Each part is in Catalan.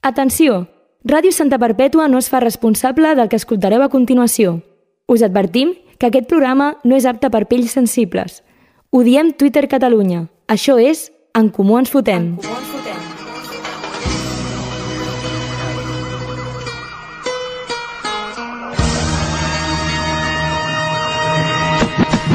Atenció! Ràdio Santa Perpètua no es fa responsable del que escoltareu a continuació. Us advertim que aquest programa no és apte per pells sensibles. Ho diem Twitter Catalunya. Això és En Comú Ens Fotem.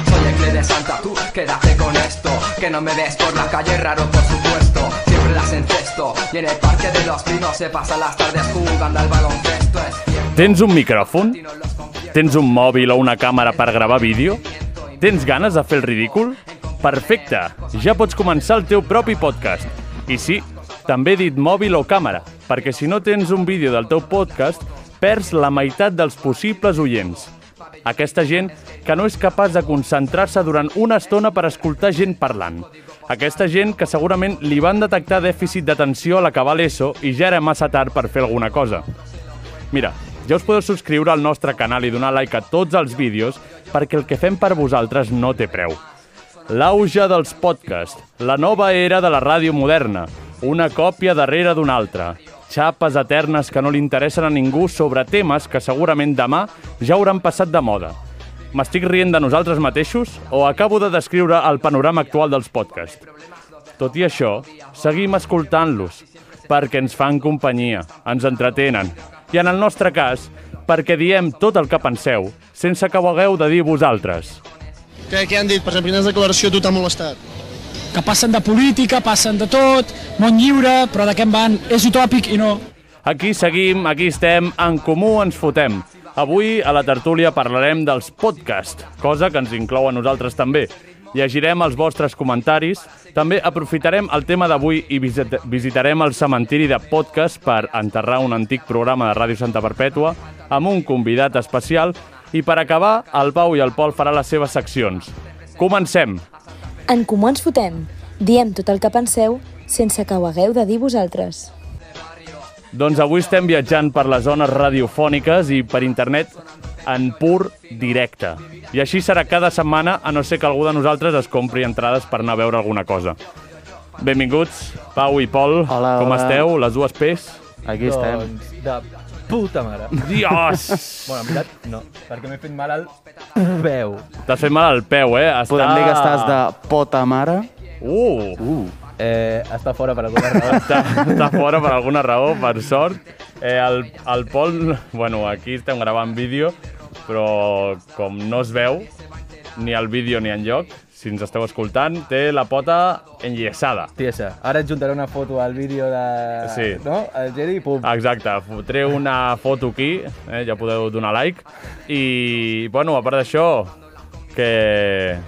Soy el que de Santa, tú quédate con esto. Que no me ves por la calle, raro por supuesto. Siempre las encesto. Y en el parque de los pinos se pasan las tardes jugando al baloncesto. Es bien, Tens un micròfon? no los convierto Tens un mòbil o una càmera per gravar vídeo? Tens ganes de fer el ridícul? Perfecte! Ja pots començar el teu propi podcast. I sí, també he dit mòbil o càmera, perquè si no tens un vídeo del teu podcast, perds la meitat dels possibles oients. Aquesta gent que no és capaç de concentrar-se durant una estona per escoltar gent parlant. Aquesta gent que segurament li van detectar dèficit d'atenció a l'acabar l'ESO i ja era massa tard per fer alguna cosa. Mira, ja us podeu subscriure al nostre canal i donar like a tots els vídeos perquè el que fem per vosaltres no té preu. L'auge dels podcasts, la nova era de la ràdio moderna, una còpia darrere d'una altra, xapes eternes que no li interessen a ningú sobre temes que segurament demà ja hauran passat de moda. M'estic rient de nosaltres mateixos o acabo de descriure el panorama actual dels podcasts? Tot i això, seguim escoltant-los, perquè ens fan companyia, ens entretenen, i en el nostre cas, perquè diem tot el que penseu, sense que ho hagueu de dir vosaltres. Què, què han dit? Per exemple, quines declaracions a tu t'ha molestat? que passen de política, passen de tot, món lliure, però de què en van? És utòpic i no. Aquí seguim, aquí estem, en comú ens fotem. Avui a la tertúlia parlarem dels podcasts, cosa que ens inclou a nosaltres també. Llegirem els vostres comentaris, també aprofitarem el tema d'avui i visit visitarem el cementiri de podcast per enterrar un antic programa de Ràdio Santa Perpètua amb un convidat especial i per acabar, el Pau i el Pol farà les seves seccions. Comencem! En Comú Ens Fotem. Diem tot el que penseu sense que ho hagueu de dir vosaltres. Doncs avui estem viatjant per les zones radiofòniques i per internet en pur directe. I així serà cada setmana, a no ser que algú de nosaltres es compri entrades per anar a veure alguna cosa. Benvinguts, Pau i Pol. Hola, Com hola. esteu? Les dues P's? Aquí estem. Doncs, de puta mare. Dios! Bueno, en veritat, no, perquè m'he fet mal al veu. T'has fet mal al peu, eh? Està... Podem dir que estàs de pota mare. Uh! Uh. Eh, està fora per alguna raó. Està, està fora per alguna raó, per sort. Eh, el, el Pol... Bueno, aquí estem gravant vídeo, però com no es veu, ni el vídeo ni en lloc, si ens esteu escoltant, té la pota enllaçada. Tiesa, ara et juntaré una foto al vídeo de... Sí. Ah. No? El Jedi i pum. Exacte, fotré una foto aquí, eh, ja podeu donar like. I, bueno, a part d'això, que...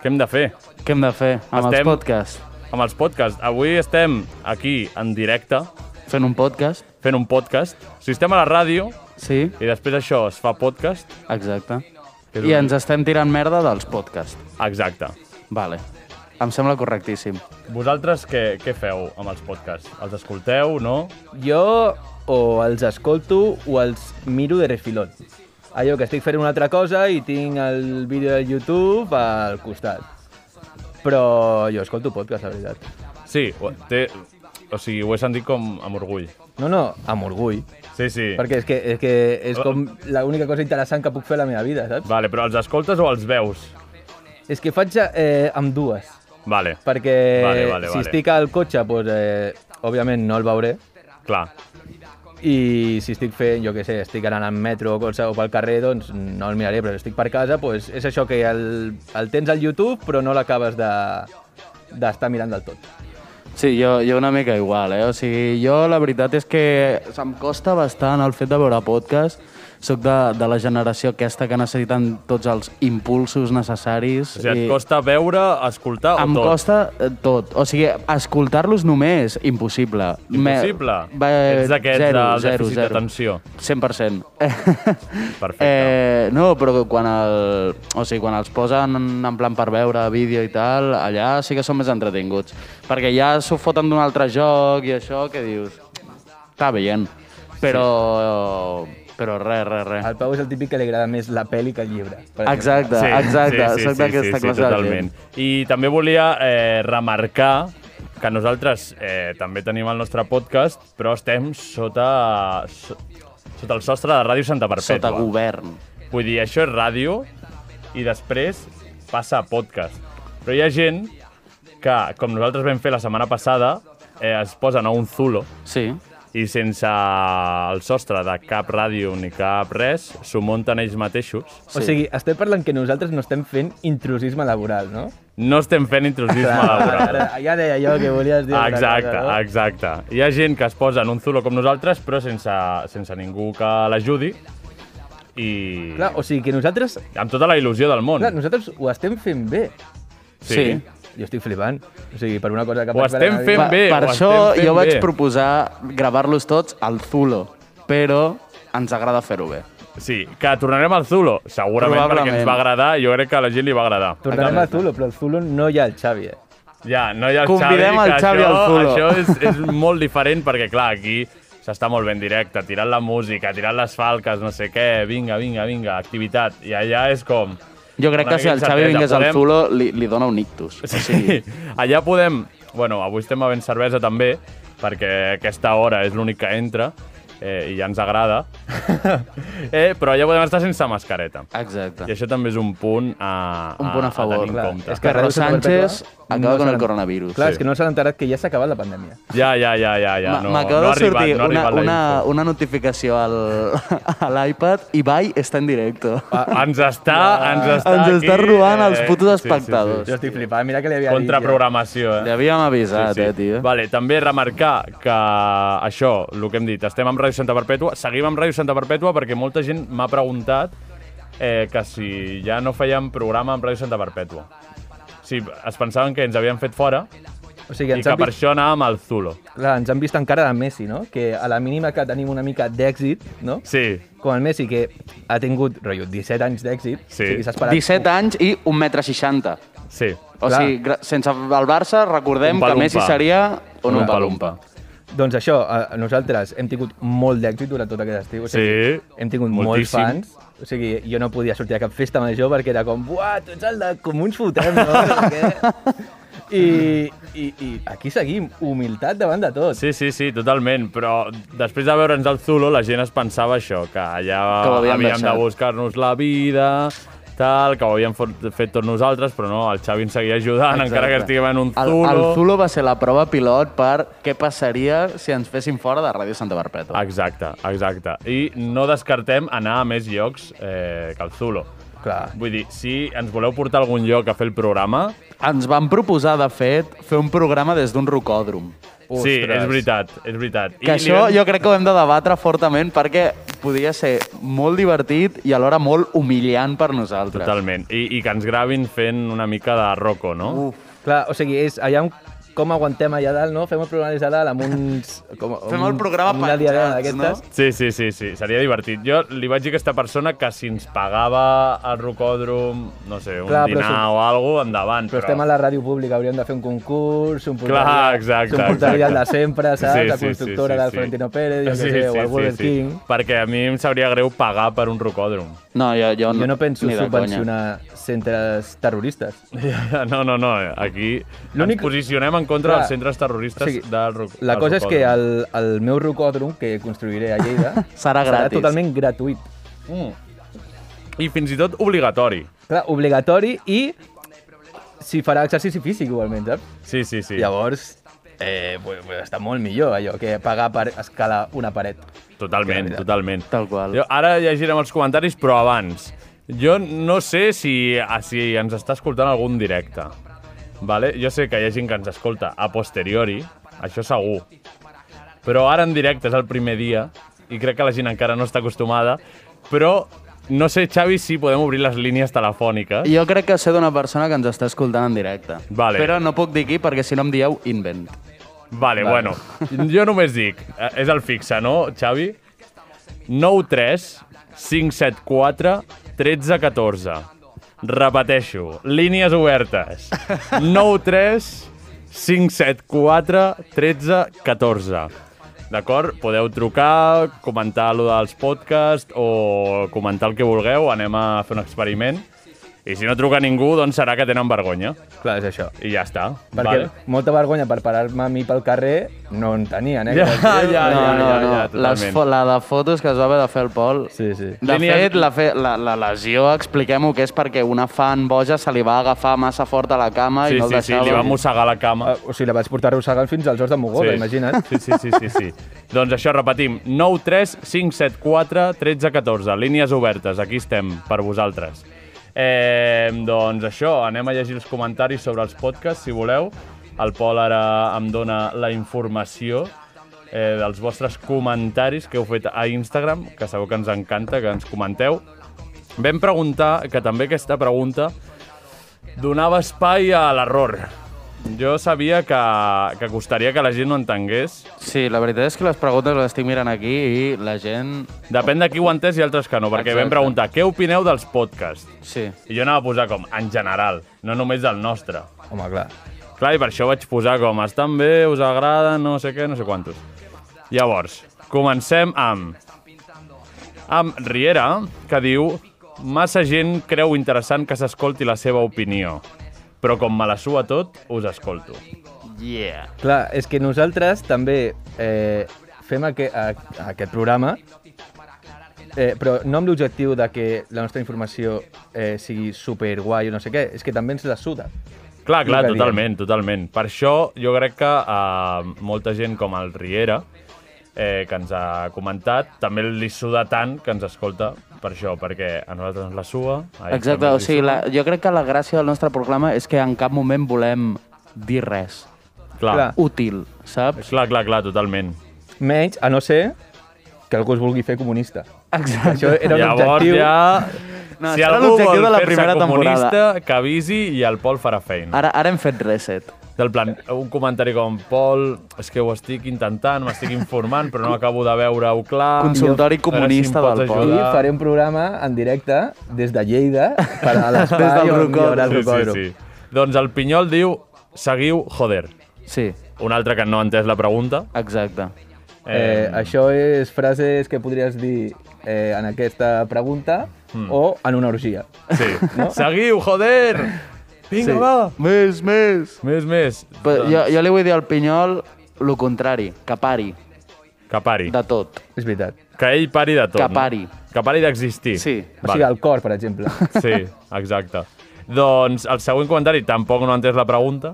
què hem de fer Què hem de fer amb Estem- els podcasts? amb els podcasts? Avui estem aquí, en directe, Fent un podcast? fent un podcast. Si estem a la ràdio Sí, i després això es fa podcast, exacte. Que és I un- ens estem tirant merda dels podcasts. Exacte. Vale. Em sembla correctíssim. Vosaltres què, què feu amb els podcasts? Els escolteu, no? Jo o els escolto o els miro de refilón. Allò que estic fent una altra cosa i tinc el vídeo de YouTube al costat. Però jo escolto podcast, la veritat. Sí, ho- té, o sigui, ho he sentit com amb orgull. No, no, amb orgull. Sí, Ah. sí. Perquè és que és, que és com l'única cosa interessant que puc fer a la meva vida, saps? Vale, però els escoltes o els veus? És que faig eh, amb dues, Vale, perquè Vale, vale, si vale. estic al cotxe, doncs, eh, òbviament no el veuré, clar. i si estic fent, jo què sé, estic anant en metro o, cosa, o pel carrer, doncs no el miraré, però si estic per casa, doncs és això que el, el tens al YouTube, però no l'acabes de d'estar mirant del tot. Sí, jo, jo una mica igual, eh? O sigui, jo la veritat és que em costa bastant el fet de veure podcast. Soc de, de la generació aquesta que necessiten tots els impulsos necessaris. O sigui, et costa veure, escoltar o Em tot? costa eh, tot. O sigui, escoltar-los només, impossible. Me- Impossible. Va, Ets d'aquests zero, del zero, dèficit zero. d'atenció. 100%. Perfecte. Eh, no, però quan, el, o sigui, quan els posen en plan per veure vídeo i tal, allà sí que són més entretinguts. Perquè ja s'ho foten d'un altre joc i això que dius... Està veient. Però... Però res, res, res. El Pau és el típic que li agrada més la pel·li que el llibre. per exemple. Exacte, exacte. Soc d'aquesta classe de gent. totalment. I també volia eh, remarcar que nosaltres eh, també tenim el nostre podcast, però estem sota, so- sota el sostre de Ràdio Santa Perpètua. Sota govern. Vull dir, això és ràdio i després passa a podcast. Però hi ha gent que, com nosaltres vam fer la setmana passada, eh, es posen a un zulo Sí. i sense el sostre de cap ràdio ni cap res, s'ho munten ells mateixos. O sigui, estem parlant que nosaltres no estem fent intrusisme laboral, no? No estem fent intrusisme laboral. Ara, Ja deia jo que volies dir una Exacte, cosa, no? exacte. Hi ha gent que es posa en un zulo com nosaltres, però sense, sense ningú que l'ajudi i Clar, o sigui que nosaltres, amb tota la il·lusió del món. clar, nosaltres ho estem fent bé. Sí. Sí. Jo estic flipant. O sigui, per una cosa que... Ho vaig estem veure- fent Per, bé, per ho això estem fent jo vaig bé. proposar gravar-los tots al Zulo, però ens agrada fer-ho bé. Sí, que tornarem al Zulo, segurament, Probablement. perquè ens va agradar, jo crec que a la gent li va agradar. Tornarem a Zulo, però el Zulo no hi ha el Xavi, eh? Ja, no hi ha el Convidem Xavi, el que Xavi això, al Zulo. Això és, és molt diferent, perquè clar, aquí s'està molt ben directe, tirant la música, tirant les falques, no sé què, vinga, vinga, vinga, activitat, i allà és com... Jo crec Una que si el mica Xavi incertesa, vingués al podem- Zulo, li, li dona un ictus. O sigui, Sí. Allà podem... Bueno, avui estem bevent cervesa també, perquè aquesta hora és l'única que entra, eh, i ja ens agrada. eh, però allà podem estar sense mascareta. exacte. I això també és un punt a, Un punt a favor. tenir Clar, en compte. és que Carlos Ràdio Santa Sánchez Perpètua acaba con el s'han- coronavirus. Clar, Sí. és que no s'han enterat que ja s'ha acabat la pandèmia. Ja, ja, ja, ja, ja. Ma- No, M'acaba no ha de sortir arribat, no ha una, arribat la una, info. una notificació al, a l'iPad i Ibai està en directe. Ah, Ens està, ens està Ens aquí, està robant els eh, putos sí, sí, sí. espectadors. Jo estic flipant, mira que li havia dit. Contraprogramació, eh? L'havíem avisat, eh, tio. Vale, també remarcar que això, el que hem dit, estem amb Ràdio Santa Perpètua, seguim amb Ràdio Santa Perpètua perquè molta gent m'ha preguntat eh, que si ja no fèiem programa amb Ràdio Santa Perpètua. Sí, es pensaven que ens havien fet fora Ja. O sigui, i ens que han, per vist, això anàvem al Zulo. clar, ens han vist encara de Messi, no? Que a la mínima que tenim una mica d'èxit, no? Sí, Com el Messi, que ha tingut, rotllo, 17 anys d'èxit. Sí. O sigui, s'ha esperat 17 anys i 1,60 metre. sí. O Clar. sigui, gra- sense el Barça, recordem Un que palumpa. Messi seria un Una umpalumpa. Doncs això, eh, nosaltres hem tingut molt d'èxit durant tot aquest estiu. O sigui, Sí, hem tingut moltíssim. molts fans. O sigui, jo no podia sortir a cap festa major perquè era com, buah, tu ets el de Comuns Fotem, no? No sé què. I, i, I aquí seguim, humilitat davant de tot. Sí, sí, sí, totalment, però després de veure'ns al Zulo la gent es pensava això, que allà Que ho havíem havíem de deixat. buscar-nos la vida, tal, que ho havíem fot- fet tots nosaltres, però no, el Xavi ens seguia ajudant, Exacte. encara que estiguem en un Zulo. El, el Zulo va ser la prova pilot per què passaria si ens fessin fora de Ràdio Santa Barpeta. Exacte, exacte. I no descartem anar a més llocs eh, que el Zulo. Clar. Vull dir, si ens voleu portar a algun lloc a fer el programa, Ens van proposar, de fet, fer un programa des d'un rocòdrom. sí, Ostres. és veritat, és veritat. Que li això vam- jo crec que ho hem de debatre fortament perquè podia ser molt divertit i alhora molt humiliant per nosaltres. Totalment. I, I que ens gravin fent una mica de roco, no? Uf. Clar, o sigui, és allà on, com aguantem allà dalt, no? Fem el programa des de dalt amb uns... Com, amb Fem el un- programa amb una diadema penjats, no? d'aquestes. Sí, sí, sí, sí, seria divertit. Jo li vaig dir a aquesta persona que si ens pagava el rocòdrom, no sé, un Clar, Clar, però dinar sí. o alguna cosa, endavant. Però estem a la ràdio pública, hauríem de fer un concurs, un portaria, Clar, exacte, un portaria el de exacte. sempre, saps? Sí, la sí, constructora sí, sí, del sí. Florentino Pérez, jo què sé, o el Burger King. Perquè a mi em sabria greu pagar per un rocòdrom. No, jo, jo, Jo no penso ni de conya. subvencionar centres terroristes. No, no, no, aquí L'únic- ens posicionem en contra Clar. dels centres terroristes O sigui, del roc... La del cosa és que rocòdrom. el, el meu rocòdrom que construiré a Lleida Serà gratis. totalment gratuït. I fins i tot obligatori. Clar, obligatori i si farà exercici físic igualment, saps? Sí, sí, sí. Llavors, eh, pues, pues està molt millor allò que pagar per escalar una paret. Totalment, Que la veritat. totalment. Tal qual. Jo, ara llegirem els comentaris, però abans. Jo no sé si, a- si ens està escoltant algun directe. Vale? Jo sé que hi ha gent que ens escolta a posteriori, això segur. Però ara en directe és el primer dia i crec que la gent encara no està acostumada. Però no sé, Xavi, si podem obrir les línies telefòniques. Jo crec que sé d'una persona que ens està escoltant en directe. Vale. Però no puc dir qui perquè si no em dieu invent. Vale, bueno. Jo només dic, eh, és el fixe, no, Xavi? 93 574 13 14. Repeteixo, línies obertes. 93 574 13 14. D'acord? Podeu trucar, comentar allò dels podcasts o comentar el que vulgueu. Anem a fer un experiment. I si no truca ningú, doncs serà que tenen vergonya. Clar, és això. I ja està. Perquè vale? molta vergonya per parar-me a mi pel carrer no en tenien, eh? Ja, Clar, ja, tio. Ah, ja, No, no, ja, no. ja, Les totalment. fo- la de fotos que es va haver de fer el Pol... Sí, sí. De Línia- fet, la, fe, la, la lesió, expliquem-ho, que és perquè una fan boja se li va agafar massa fort a la cama Sí, i no el sí, sí, deixava... li va mossegar la cama. Ah, O sigui, la vaig portar arrossegant fins als horts de Mogoda, imagina't. Sí, sí, sí, sí, sí. doncs això, repetim, 9 3 5 7 4 13 14, línies obertes, aquí estem, per vosaltres. Eh, doncs això, anem a llegir els comentaris sobre els podcasts, si voleu. El Pol ara em dona la informació eh, dels vostres comentaris que heu fet a Instagram, que sabeu que ens encanta, que ens comenteu. Vam preguntar, que també aquesta pregunta donava espai a l'error. Jo sabia que, que costaria que la gent no entengués. Sí, la veritat és que les preguntes les estic mirant aquí i la gent... Depèn de qui ho ha entès i altres que no, perquè vam Exacte. preguntar què opineu dels podcasts. Sí. I jo anava a posar com, en general, no només del nostre. Home, clar. Clar, i per això vaig posar com, estan bé, us agrada, no sé què, no sé quantos. Llavors, comencem amb... Amb Riera, que diu... Massa gent creu interessant que s'escolti la seva opinió, però com me la sua tot, us escolto. Yeah. Clar, és que nosaltres també eh, fem aqu a aquest programa, eh, però no amb l'objectiu de que la nostra informació eh, sigui superguai o no sé què, és que també ens la suda. Clar, clar, El que diem. totalment, totalment. Per això jo crec que eh, molta gent com el Riera, eh, que ens ha comentat, també li suda tant que ens escolta per això, perquè a nosaltres ens la sua. A ells Exacte, també o els hi sigui, suda. la, jo crec que la gràcia del nostre programa és que en cap moment volem dir res Clar, Clar. útil, saps? clar, clar, clar totalment. Menys, a no ser que algú es vulgui fer comunista. Exacte. Això era un Llavors objectiu... ja... No, si això era algú l'objectiu vol de la fer-se primera comunista, temporada. que avisi i el Pol farà feina. Ara, ara hem fet reset. Del plan, un comentari com, Pol, és que ho estic intentant, m'estic informant, però no acabo de veure-ho clar. A veure Consultori si em comunista pots del Pol. I ajudar." faré un programa en directe des de Lleida per a l'espai Des del on hi Rocó. haurà el Sí, sí, Rocó. sí. Doncs el Pinyol diu, seguiu, joder. Sí, Un altre que no ha entès la pregunta. exacte. Eh, això és frases que podries dir eh, en aquesta pregunta Hmm. o en una orgia. Sí. No? Seguiu, joder! Vinga, sí. va! Més, més! Més, més. Doncs Però jo, jo li vull dir al Pinyol lo contrari, que pari Que pari. de tot. És veritat. Que ell pari de tot. Que pari. No? Que pari d'existir. Sí. O sigui, el cor, per exemple. Sí, exacte. doncs el següent comentari tampoc no ha entès la pregunta.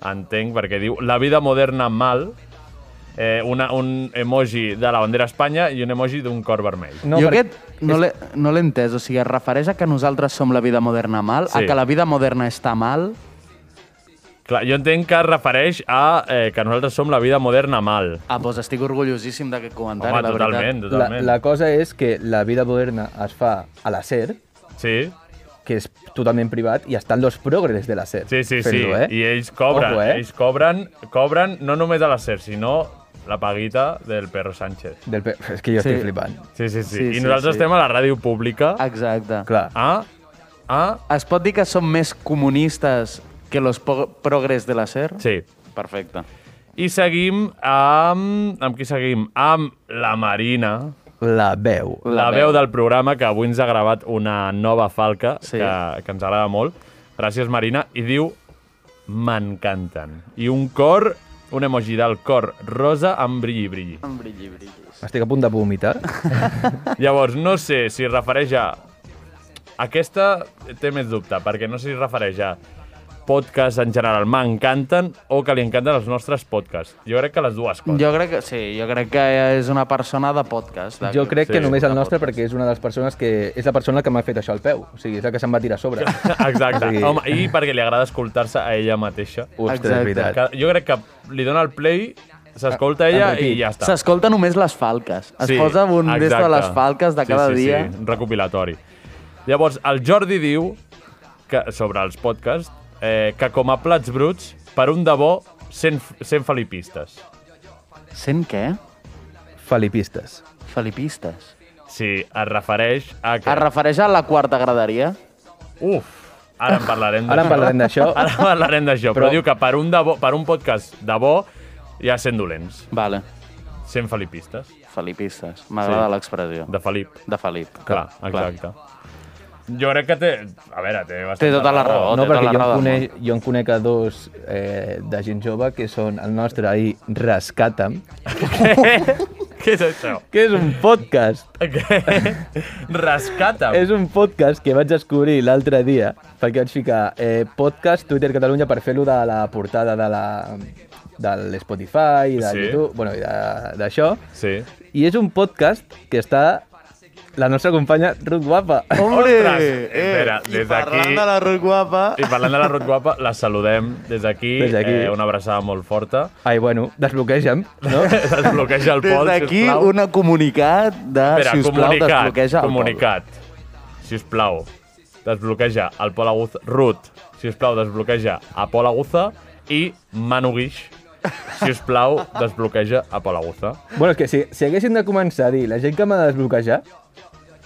Entenc, perquè diu la vida moderna mal, eh, una, un emoji de la bandera Espanya i un emoji d'un cor vermell. No, jo per- aquest no l'he no l'he entès, o sigui, es refereix a que nosaltres som la vida moderna mal, sí. Sí. a que la vida moderna està mal. Clar, jo entenc que es refereix a eh, que nosaltres som la vida moderna mal. Ah, doncs estic orgullosíssim d'aquest comentari, Home, la veritat. totalment, La, totalment. la cosa és que la vida moderna es fa a la SER, Sí, que és totalment privat, i estan los progres de la SER. sí, sí. sí. fent-ho, Eh? I ells cobren, Ojo, eh? eh? ells cobren, cobren no només a la SER, sinó la paguita del Perro Sánchez. Del pe... És que jo estic Sí. flipant. Sí, sí, sí. Sí, I sí, nosaltres sí. estem a la ràdio pública Exacte. Clar. a... a... Es pot dir que som més comunistes que los po- progres de la SER? Sí. Perfecte. I seguim amb... Amb qui seguim? Amb la Marina, La veu. la, La veu. veu. del programa, que avui ens ha gravat una nova falca, Sí. que, que ens agrada molt. Gràcies, Marina. I diu... M'encanten. I un cor, un emoji del cor rosa amb brilli, brilli. Estic a punt de vomitar. Llavors, no sé si es refereix a... Aquesta té més dubte, perquè no sé si es refereix a podcasts en general m'encanten o que li encanten els nostres podcasts. Jo crec que les dues coses. Jo crec que sí, jo crec que és una persona de podcast. De, Jo crec Sí, que només el nostre podcast. perquè és una de les persones que... És la persona que m'ha fet això al peu. O sigui, és la que se'm va tirar a sobre. Exacte. Sí. Home, I perquè li agrada escoltar-se a ella mateixa. Ostres, Exacte. és veritat. Que jo crec que li dona el play, s'escolta Ah, ella en i repeat. ja està. S'escolta només les falques. Es posa un exacte. des de les falques de cada sí, sí, dia. Sí, un recopilatori. Llavors, el Jordi diu, que, sobre els podcasts, eh, que com a plats bruts, per un de bo, sent, sent felipistes. Sent què? Felipistes. Felipistes. Sí, es refereix a que... Es refereix a la quarta graderia? Uf! Ara en parlarem d'això. Ara en parlarem d'això. Ara parlarem d'això, però... Però- però diu que per un, de bo, per un podcast de bo ja sent dolents, Vale. sent felipistes. Felipistes. M'agrada l'expressió. De Felip. De Felip. Clar, exacte. Jo crec que té... A veure, té bastant Té tota la raó. No, té tota perquè la jo en, raó del conec, jo en conec a dos eh, de gent jove que són el nostre i Rescata'm, Què és això? que és un podcast Què? Rescata'm. És un podcast que vaig descobrir l'altre dia, perquè vaig ficar eh, podcast Twitter Catalunya per fer-lo de la portada de la de l'Spotify, i de Sí. YouTube, bueno, i de- d'això. Sí. I és un podcast que està la nostra companya Ruth Guapa. Hombre, eh, Ostres, Eh, espera, des I parlant d'aquí- de la Ruth Guapa... I parlant de la Ruth Guapa, la saludem des d'aquí. Des d'aquí. Eh, una abraçada molt forta. Ai, bueno, desbloqueja'm, no? Desbloqueja el Des pol, d'aquí, sisplau. una comunicat de, Espera, Ah, si us plau, comunicat, desbloqueja el pol. comunicat. Si us plau, desbloqueja el Pol Aguza. Ruth, si us plau, desbloqueja a Pol Aguza i Manu Guix. Si us plau, desbloqueja a Pol Aguza. bueno, és que si, si haguéssim de començar a dir la gent que m'ha de desbloquejar,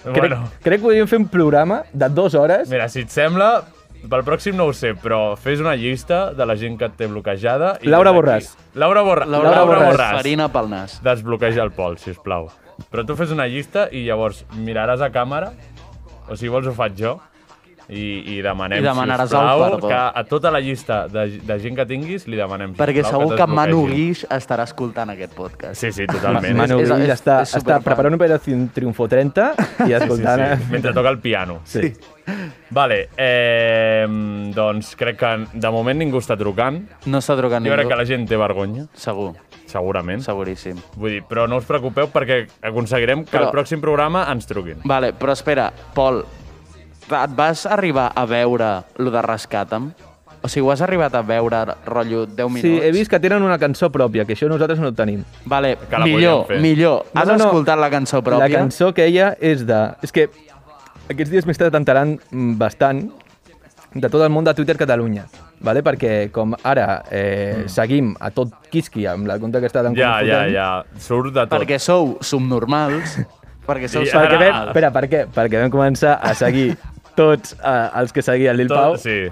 crec, Bueno, crec que podríem fer un programa de dues hores mira, si et sembla, pel pròxim no ho sé, però fes una llista de la gent que et té bloquejada. I Laura des d'aquí- Borràs. Laura, Borra Laura, Laura Borràs. Borràs, farina pel nas. Desbloqueja el Pol, si us plau. Però tu fes una llista i llavors miraràs a càmera, o si vols ho faig jo, i, i demanem, I demanaràs el sisplau, perdó. que a tota la llista de, de gent que tinguis li demanem, sisplau, Perquè segur que desbloquegin. Manu Guix estarà escoltant aquest podcast. Sí, sí, totalment. Manu És- és- Guix és- està, és està superfan. preparant un Operación Triunfo 30 i Sí, escoltant... sí, eh? sí. Mentre toca el piano. Sí. Vale, eh, doncs crec que de moment ningú està trucant. No està trucant Jo crec ningú. que la Mm. gent té vergonya, Segur, segurament. seguríssim. Vull dir, però no us preocupeu perquè aconseguirem que Però- al pròxim programa ens truquin. Vale, però espera, Pol, et vas arribar a veure lo de Rescata'm? O sigui, ho has arribat a veure, rotllo, 10 Sí, minuts? he vist que tenen una cançó pròpia, que això nosaltres no ho tenim. Vale, Que la millor, podríem fer. millor. Ah, No, Has no, no. escoltat la cançó La pròpia? cançó que ella és de... És que aquests dies m'he estat enterant mm, bastant de tot el món de Twitter Catalunya, vale? perquè com ara eh, Mm. seguim a tot Kiski amb la compte que està d'en Ja, Comú ja, Fotent, ja. Surt de tot. Perquè sou subnormals, perquè sou... I sub- Perquè Ara- vam, espera, per què? Perquè vam començar a seguir tots eh, els que seguien Lil Tot, Pau. Sí.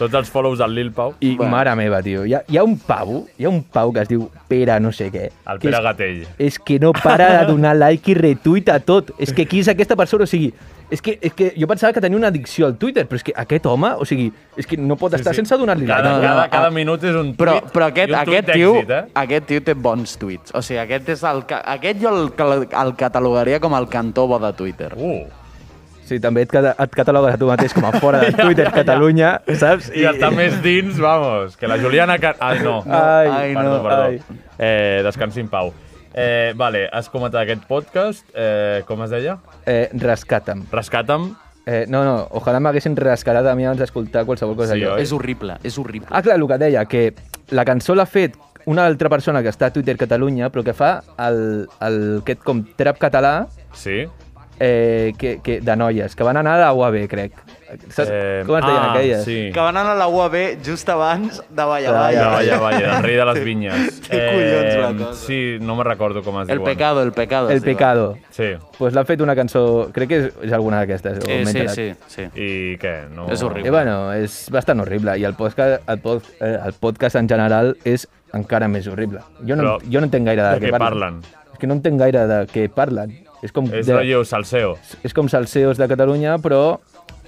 Tots els follows del Lil Pau. I Bueno. mare meva, tio, hi ha, hi ha un pavo, hi ha un pau que es diu Pere no sé què. El que Pere és, Gatell. És que no para de donar like i retuit a tot. És que qui és aquesta persona? O sigui, és que, és que jo pensava que tenia una addicció al Twitter, però és que aquest home, o sigui, és que no pot estar sense donar-li like. Cada, No, no, cada, no, cada ah. minut és un tuit. Però, però aquest, i un tuit aquest, tio, d'èxit, Eh? aquest tio té bons tuits. O sigui, aquest, és el, ca- aquest jo el, cal- el catalogaria com el cantó bo de Twitter. Uh, Sí, també et, cata- et catalogues a tu mateix com a fora de Twitter Catalunya, saps? I està més dins, vamos, que la Juliana... Car ai, no. Ai, Ai, perdó, no, perdó. ai. Eh, descansi en pau. Eh, vale, has comentat aquest podcast, eh, com es deia? Eh, rescata'm. Rescata'm. Eh, no, no, ojalà m'haguessin rescatat a mi abans d'escoltar qualsevol cosa. Sí, que- oi? És horrible, és horrible. Ah, clar, el que deia, que la cançó l'ha fet una altra persona que està a Twitter Catalunya, però que fa el, el, aquest com trap català Sí. eh, que, que, de noies, que van anar a la UAB, crec. Saps? Eh, com es deien ah, aquelles? Sí. Que van anar a la UAB just abans de Valla Vaya, Valla. vaya, vaya, el rei de les vinyes. Eh, té collons la cosa. Sí, no me recordo com es El diuen. pecado, el pecado. es El diu. Pecado. Sí. Pues l'han fet una cançó, crec que és, és alguna d'aquestes. o Eh, m'he sí, enterat. sí, sí. I què? No... És horrible. I bueno, és bastant horrible. I el podcast, el, pod, eh, el podcast en general és encara més horrible. Jo no, Però jo no entenc gaire de, de què parlen. És que no entenc gaire de què parlen. És com És de- rotllo salseo. és com salseos de Catalunya, però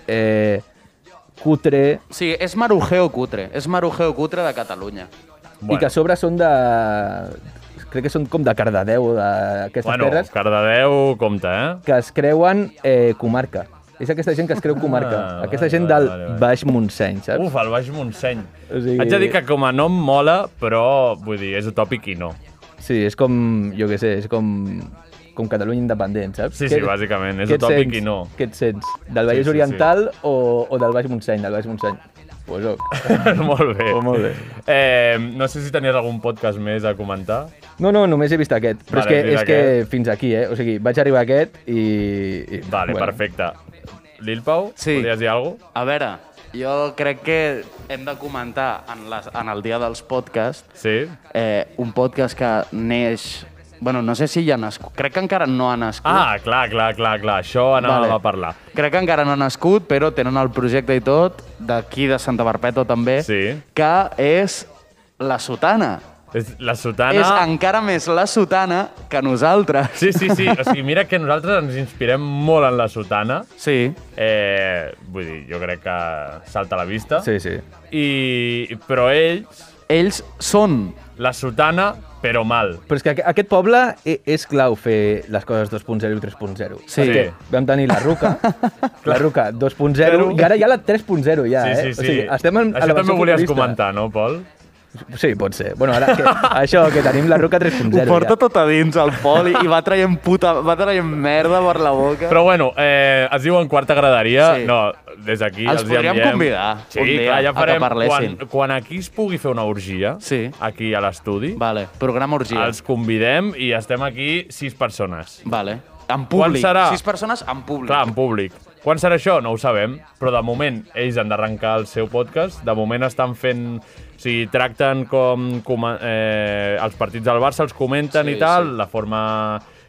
eh, cutre Sí, és marujeo cutre. És marujeo cutre de Catalunya. bueno. i que a sobre són de... Crec que són com de Cardedeu o d'aquestes Bueno, terres Cardedeu, compte, eh? que es creuen eh, comarca. És aquesta gent que es creu comarca. Ah, vale, aquesta gent vale, del vale, vale. Baix Montseny, saps? Uf, el Baix Montseny. O sigui- Haig de dir que com a nom mola, però vull dir, és utòpic i no. Sí, és com, jo què sé, és com, com Catalunya independent, saps? Sí, sí, bàsicament, és què et utòpic i sents? no. Què et sents? Del Vallès sí, sí. Oriental O, o del Baix Montseny? Del Baix Montseny. Pues, oh. molt bé. Oh, molt bé. Eh, no sé si tenies algun podcast més a comentar. No, no, només he vist aquest. Però Vale, vale, has vist és, que, és aquest. que fins aquí, eh? O sigui, vaig arribar a aquest i... i Vale, perfecte. Lil Pau, Sí. podries dir alguna cosa? A veure, jo crec que hem de comentar en, les, en el dia dels podcasts Sí. eh, un podcast que neix... Bueno, no sé si ja ha nascut. Crec que encara no ha nascut. Ah, clar, clar, clar, clar. Això anàvem a parlar. Crec que encara no ha nascut, però tenen el projecte i tot, d'aquí de Santa Barpeto també, Sí. que és La Sotana. És la sotana... És encara més la sotana que nosaltres. Ah, Sí, sí, sí. O sigui, mira que nosaltres ens inspirem molt en la sotana. Sí. Eh, vull dir, jo crec que salta a la vista. Sí, sí. I, però ells, Ells són la sotana, però mal. Però és que aqu- aquest poble e- és clau fer les coses 2.0 i 3.0. Sí. Perquè Vam tenir la Ruca, la Ruca 2.0, Claro. i ara hi ha la 3.0 ja, Sí, eh? sí, sí. O sigui, estem en, a la Això també versió ho volies futurista. comentar, no, Pol? Sí, pot ser. Bueno, ara que, això, que tenim la Ruca 3.0 Ho porta ja. tot a dins, el Pol, i, i va traient puta... Va traient merda per la boca. Però bueno, eh, es diuen quart agradaria. Sí. No, des d'aquí Els els, podríem enviem. convidar Sí, un dia clar, ja a que farem. Quan, parlessin. quan aquí es pugui fer una orgia, Sí. aquí a l'estudi, Vale, programa orgia. els convidem i estem aquí sis persones. Vale. En Quan públic. serà? Sis persones en públic. Clar, en públic. Quan serà això? No ho sabem, però de moment ells han d'arrencar el seu podcast. De moment estan fent... O sigui, tracten com, com eh, els partits del Barça, els comenten Sí, i tal, de forma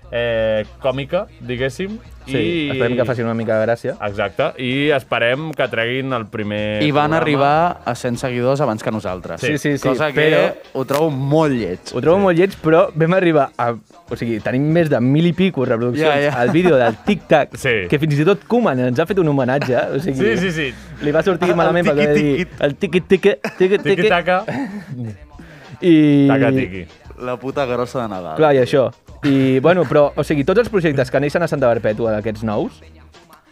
eh, còmica, diguéssim. Sí, i... esperem que facin una mica de gràcia. Exacte, i esperem que treguin el primer I van programa. arribar a 100 seguidors abans que nosaltres. Sí, sí, sí, Cosa que però- ho trobo molt lleig. Ho trobo molt lleig, però vam arribar a... O sigui, tenim més de mil i pico reproduccions Ja, ja. al vídeo del Tic Tac, Sí. que fins i tot Koeman ens ha fet un homenatge. O sigui, Sí, sí, sí. Li va sortir El malament perquè va dir tiqui-tiqui. el tiqui-tiqui, tiqui-tiqui, Tiki-taka, i... taka-tiki. La puta grossa de Nadal. Clar, i això. I, bueno, però, o sigui, tots els projectes que neixen a Santa Perpètua d'aquests nous,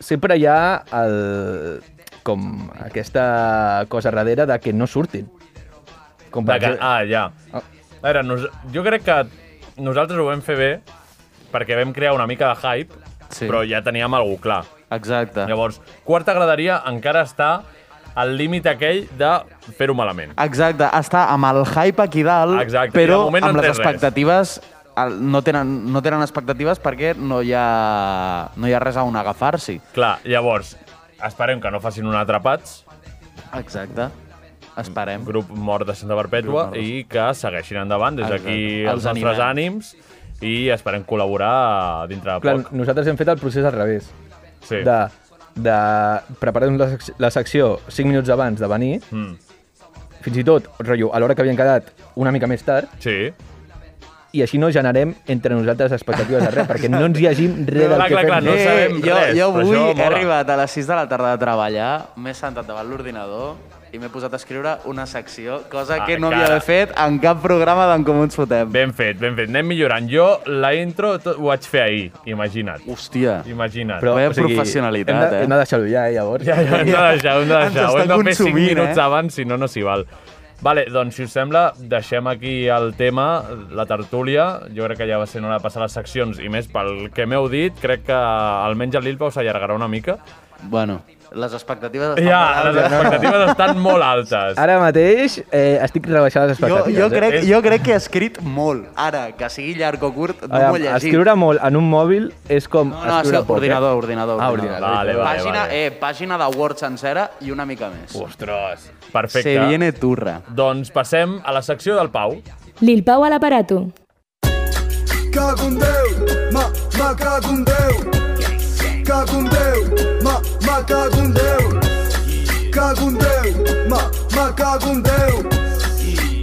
sempre hi ha el, com aquesta cosa darrere de que no surtin. Com per De que, exemple- ah, ja. Ah. A veure, nos, jo crec que nosaltres ho vam fer bé perquè vam crear una mica de hype, Sí. però ja teníem algú clar. Exacte. Llavors, quarta graderia encara està al límit aquell de fer-ho malament. Exacte, està amb el hype aquí dalt, Exacte, i de però moment no han amb les tret res. expectatives el- no tenen, no tenen expectatives perquè no hi ha, no hi ha res a on agafar-s'hi. Clar, llavors, esperem que no facin un atrapats, Exacte. Esperem. grup mort de Santa Perpètua, Grup mort. i que segueixin endavant des Exacte. d'aquí Els els nostres animem. ànims i esperem col·laborar dintre de Clar, poc. nosaltres hem fet el procés al revés. Sí. De, de preparar-nos la, sec- la secció 5 minuts abans de venir, Mm. fins i tot, rotllo, a l'hora que havien quedat una mica més tard, Sí. i així no generem entre nosaltres expectatives de res, perquè no ens hi hagim res del Clar, que clar, clar, no Eh, fem. sabem jo, res, jo però avui això he mola. arribat a les 6 de la tarda de treballar, m'he sentat davant l'ordinador i m'he posat a escriure una secció, cosa que Ah, Encara. no havia d'haver fet en cap programa d'en Comú ens fotem. Ben fet, ben fet. Anem millorant. Jo la intro tot, ho vaig fer ahir, imagina't. Hòstia. Imagina't. Però- Vaya professionalitat, hem de, eh? Hem de deixar-ho ja, eh, llavors. Ja, ja, hem de deixar, hem de Ens deixar. Ho està hem de fer 5 consumint, eh? minuts abans, si no, no s'hi val. Vale, doncs, si us sembla, deixem aquí el tema, la tertúlia. Jo crec que ja va ser hora de passar les seccions, i més pel que m'heu dit, crec que almenys el Lil Pau s'allargarà una mica. Bueno, les expectatives estan Ja, per les dalt, no? expectatives estan molt altes. Ara mateix eh, estic rebaixant les Jo, expectatives. jo, eh? crec, És- jo crec que he escrit molt. Ara, que sigui llarg o curt, no m'ho he Aviam, llegit. escriure molt en un mòbil és com No, no, escriure escriure poc, ordinador, ordinador, Ah, ordinador. ordinador. eh? Vale, vale, pàgina, vale. Eh, pàgina de Word sencera i una mica més. Ostres. Perfecte. Se viene turra. Doncs passem a la secció del Pau. Lil Pau a l'aparato. Cago en Déu, ma, ma cago en Déu. Cago en Déu, ma, ma cago en Déu. Cago en Déu, ma, ma cago en Déu.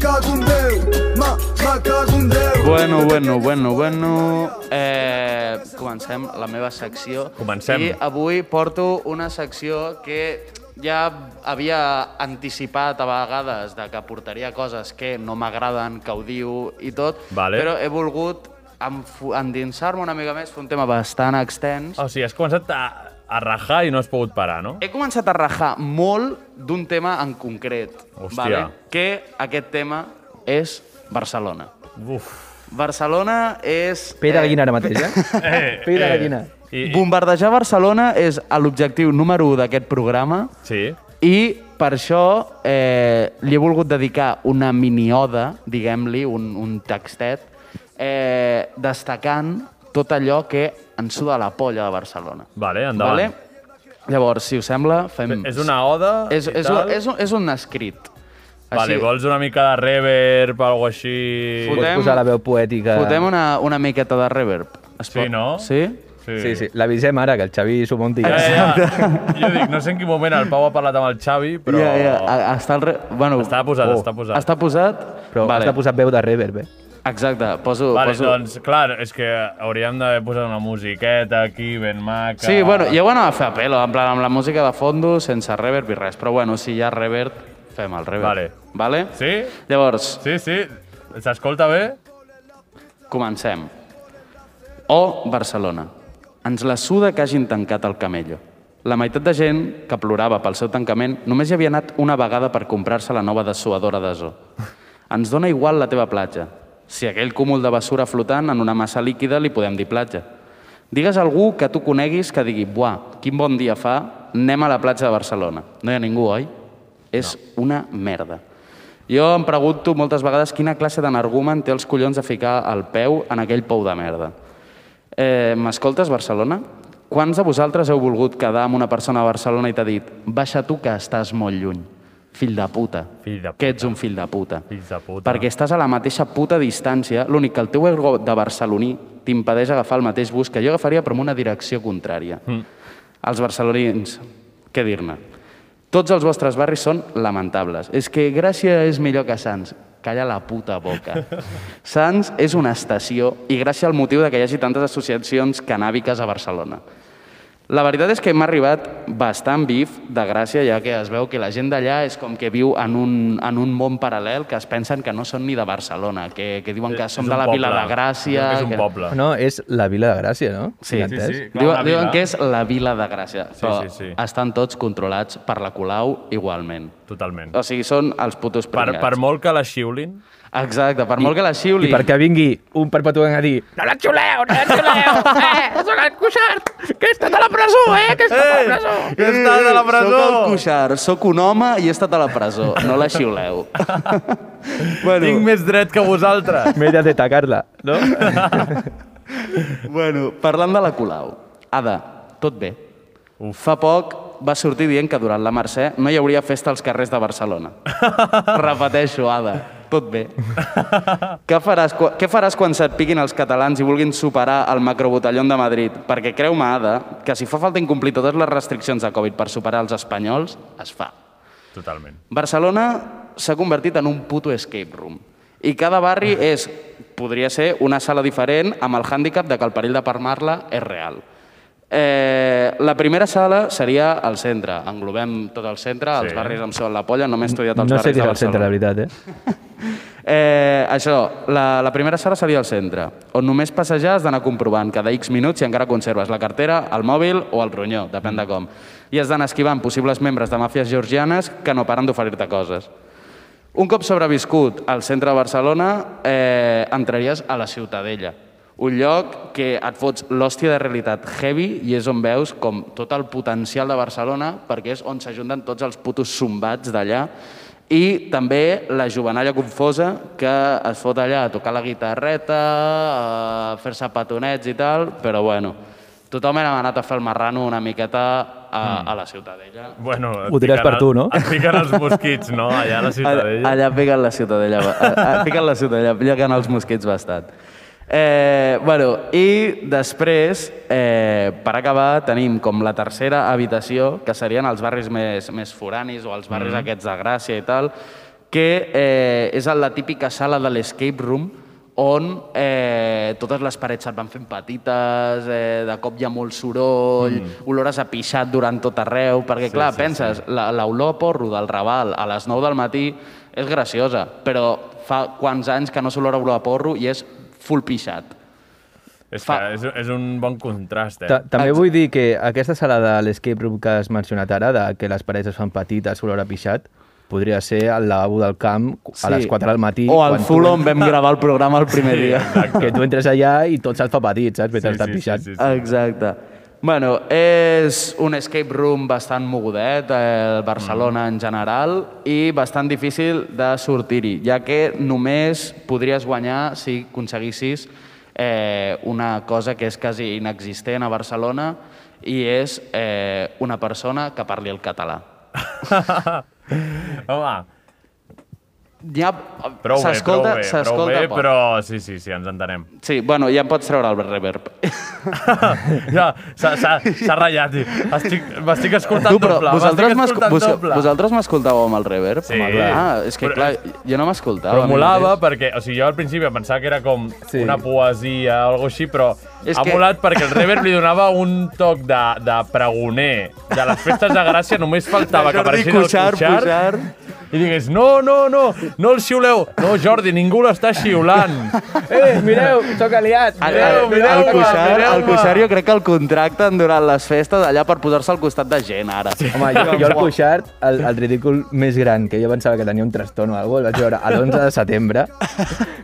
Cago en Déu, ma, ma cago en Déu. Bueno, bueno, bueno, bueno. Eh, comencem la meva secció. Comencem. I avui porto una secció que ja havia anticipat a vegades de que portaria coses que no m'agraden, que odio i tot, Vale. però he volgut enfo- endinsar-me una mica més, fer un tema bastant extens. O sigui, has començat a, a rajar i no has pogut parar, no? He començat a rajar molt d'un tema en concret, Hòstia. vale? que aquest tema és Barcelona. Uf. Barcelona és... Pere Gallina ara mateix, eh? Eh, Pere Gallina. I, i, Bombardejar Barcelona és l'objectiu número 1 d'aquest programa sí. i per això eh, li he volgut dedicar una minioda, diguem-li, un, un textet, eh, destacant tot allò que ens suda la polla de Barcelona. Vale, endavant. Llavors, si us sembla, fem... És una oda Mm. És, i és, tal. un, és, un, és un escrit. Vale, vols una mica de reverb o alguna així? Fotem- Pots posar la veu poètica. Fotem una, una miqueta de reverb. Es Sí, no? Sí? Sí. Sí, sí, l'avisem ara, que el Xavi s'ho munti. Ja, ja, ja. Jo dic, no sé en quin moment el Pau ha parlat amb el Xavi, però... Ja, ja, a- està al re... bueno, oh, Està posat, està posat. Està posat? Però vale. has de posar veu de reverb, eh? Exacte, poso... Vale, poso... doncs, clar, és que hauríem d'haver posat una musiqueta aquí, ben maca... Sí, bueno, jo ho anava a fer a pelo, en plan amb la música de fondo, sense reverb i res. Però bueno, si hi ha reverb, fem el reverb. Vale. Vale? Sí? Llavors, Sí, sí. S'escolta bé? comencem. O Barcelona. Ens la suda que hagin tancat el camello. La meitat de gent que plorava pel seu tancament només hi havia anat una vegada per comprar-se la nova dessuadora de zoo. Ens dona igual la teva platja. Si aquell cúmul de bessura flotant en una massa líquida li podem dir platja. Digues a algú que tu coneguis que digui «Buah, quin bon dia fa, anem a la platja de Barcelona». No hi ha ningú, oi? És no. una merda. Jo em pregunto moltes vegades quina classe d'enargument té els collons de ficar el peu en aquell pou de merda. Eh, M'escoltes, Barcelona? Quants de vosaltres heu volgut quedar amb una persona a Barcelona i t'ha dit «Baixa tu que estàs molt lluny, fill de puta». Fill de Que ets un fill de puta. Fills de puta. Perquè estàs a la mateixa puta distància, l'únic que el teu ego de barceloní t'impedeix agafar el mateix bus que jo agafaria però en una direcció contrària. Mm. Els barcelonins, què dir-ne? Tots els vostres barris són lamentables. És que Gràcia és millor que Sants. Calla la puta boca. Sants és una estació i gràcia al motiu de que hi hagi tantes associacions canàbiques a Barcelona. La veritat és que m'ha arribat bastant vif de gràcia, ja que es veu que la gent d'allà és com que viu en un, en un món paral·lel que es pensen que no són ni de Barcelona, que, que diuen que És som un de la poble. Vila de Gràcia... Crec que És un que... poble. No, és la Vila de Gràcia, no? Sí, Tinc entès? sí, sí. clar, Diuen, la diuen vila. que és la Vila de Gràcia, però sí, sí. estan tots controlats per la Colau igualment. Totalment. O sigui, són els putos Per, pringats. per molt que la xiulin... Exacte, per molt que la xiuli... I perquè vingui un perpetuant a dir No la xuleu, no la xuleu! Eh, sóc el Cuixart! Que he estat a la presó, eh! Que he estat a la presó! Que estàs a la presó! Soc el Cuixart, soc un home i he estat a la presó. No la xiuleu. bueno, Tinc més dret que vosaltres! m'he de destacar-la, no? Doncs Bueno, parlant de la Colau. Ada, tot bé? Uf. Fa poc va sortir dient que durant la Mercè no hi hauria festa als carrers de Barcelona. Repeteixo, Ada, tot bé. què, faràs, qua- què faràs quan se't piquin els catalans i vulguin superar el macrobotellón de Madrid? Perquè creu-me, Ada, que si fa falta incomplir totes les restriccions de Covid per superar els espanyols, es fa. Totalment. Barcelona s'ha convertit en un puto escape room. I cada barri Ah. és, podria ser, una sala diferent amb el hàndicap de que el perill de parlar-la és real. Eh, la primera sala seria el centre. Englobem tot el centre, els Sí. barris em solen la polla, no m'he estudiat els No sé barris què de és el centre, la Barcelona. veritat, eh? Eh, això, la, la primera sala seria el centre, on només passejar has d'anar comprovant cada X minuts si encara conserves la cartera, el mòbil o el ronyó, depèn Mm. de com. I has d'anar esquivant possibles membres de màfies georgianes que no paren d'oferir-te coses. Un cop sobreviscut al centre de Barcelona, eh, entraries a la Ciutadella, un lloc que et fots l'hòstia de realitat heavy i és on veus com tot el potencial de Barcelona, perquè és on s'ajunten tots els putos zumbats d'allà, i també la jovenalla confosa que es fot allà a tocar la guitarreta, a fer-se petonets i tal, però bueno, tothom hem anat a fer el marrano una miqueta a, a la Ciutadella. Bueno, et Ho piquen diràs per el- tu, no? Et piquen els mosquits, no? Allà a la Ciutadella. Allà, allà piquen la ciutadella, va- a- a- piquen la ciutadella, lleguen els mosquits bastant. Eh, bueno, i després, eh, per acabar, tenim com la tercera habitació, que serien els barris més, més foranis o els barris mm. aquests de Gràcia i tal, que eh, és la típica sala de l'escape room on eh, totes les parets se't van fent petites, eh, de cop hi ha molt soroll, mm. olores a pixat durant tot arreu, perquè sí, clar, sí, penses, sí. l'olor a porro del Raval a les 9 del matí és graciosa, però fa quants anys que no s'olora olor a porro i és full pixat. És, que Fa- és, és un bon contrast, eh? Ta També vull dir que aquesta sala de l'escape room que has mencionat ara, de que les parets es fan petites, olor a pixat, podria ser al lavabo del camp a les 4 del matí. O al quan tu- Zulo on vam gravar el programa el primer dia. Que tu entres allà i tot se't fa petit, saps? Sí, Mentre sí, estàs sí, pixant. sí, sí, sí. Exacte. Bueno, és un escape room bastant mogudet, eh, el Barcelona Mm. en general, i bastant difícil de sortir-hi, ja que només podries guanyar si aconseguissis eh, una cosa que és quasi inexistent a Barcelona i és eh, una persona que parli el català. Home, Ja, Prou bé, prou bé, prou bé, poc. però sí, sí, sí, ens entenem. Sí, bueno, ja em pots treure el reverb. ja, s'ha s'ha- s'ha ratllat. tio. Estic- M'estic escoltant tu, però doble. vosaltres m'estic m'escol- escoltant vos, doble. vosaltres m'escoltàveu amb el reverb? Sí. Ah, és que Però- clar, jo no m'escoltava. Però a mi molava mateix. perquè, o sigui, jo al principi em pensava que era com Sí. una poesia o alguna així, però És ha que- molat perquè el reverb li donava un toc de, de pregoner de les festes de Gràcia, només faltava que Jordi apareixés el Cuixart, Cuixart Cuixart. i digués, no, no, no, no el xiuleu. No, Jordi, ningú l'està xiulant. Eh, mireu, sóc aliat. El, Mireu, el, mireu-me, el, Cuixart, el mireu-me. Cuixart jo crec que el contracten durant les festes allà per posar-se al costat de gent, ara. Sí. Home, jo, jo el Cuixart, el, el ridícul més gran, que jo pensava que tenia un trastorn o alguna cosa, el vaig veure a l'11 de setembre,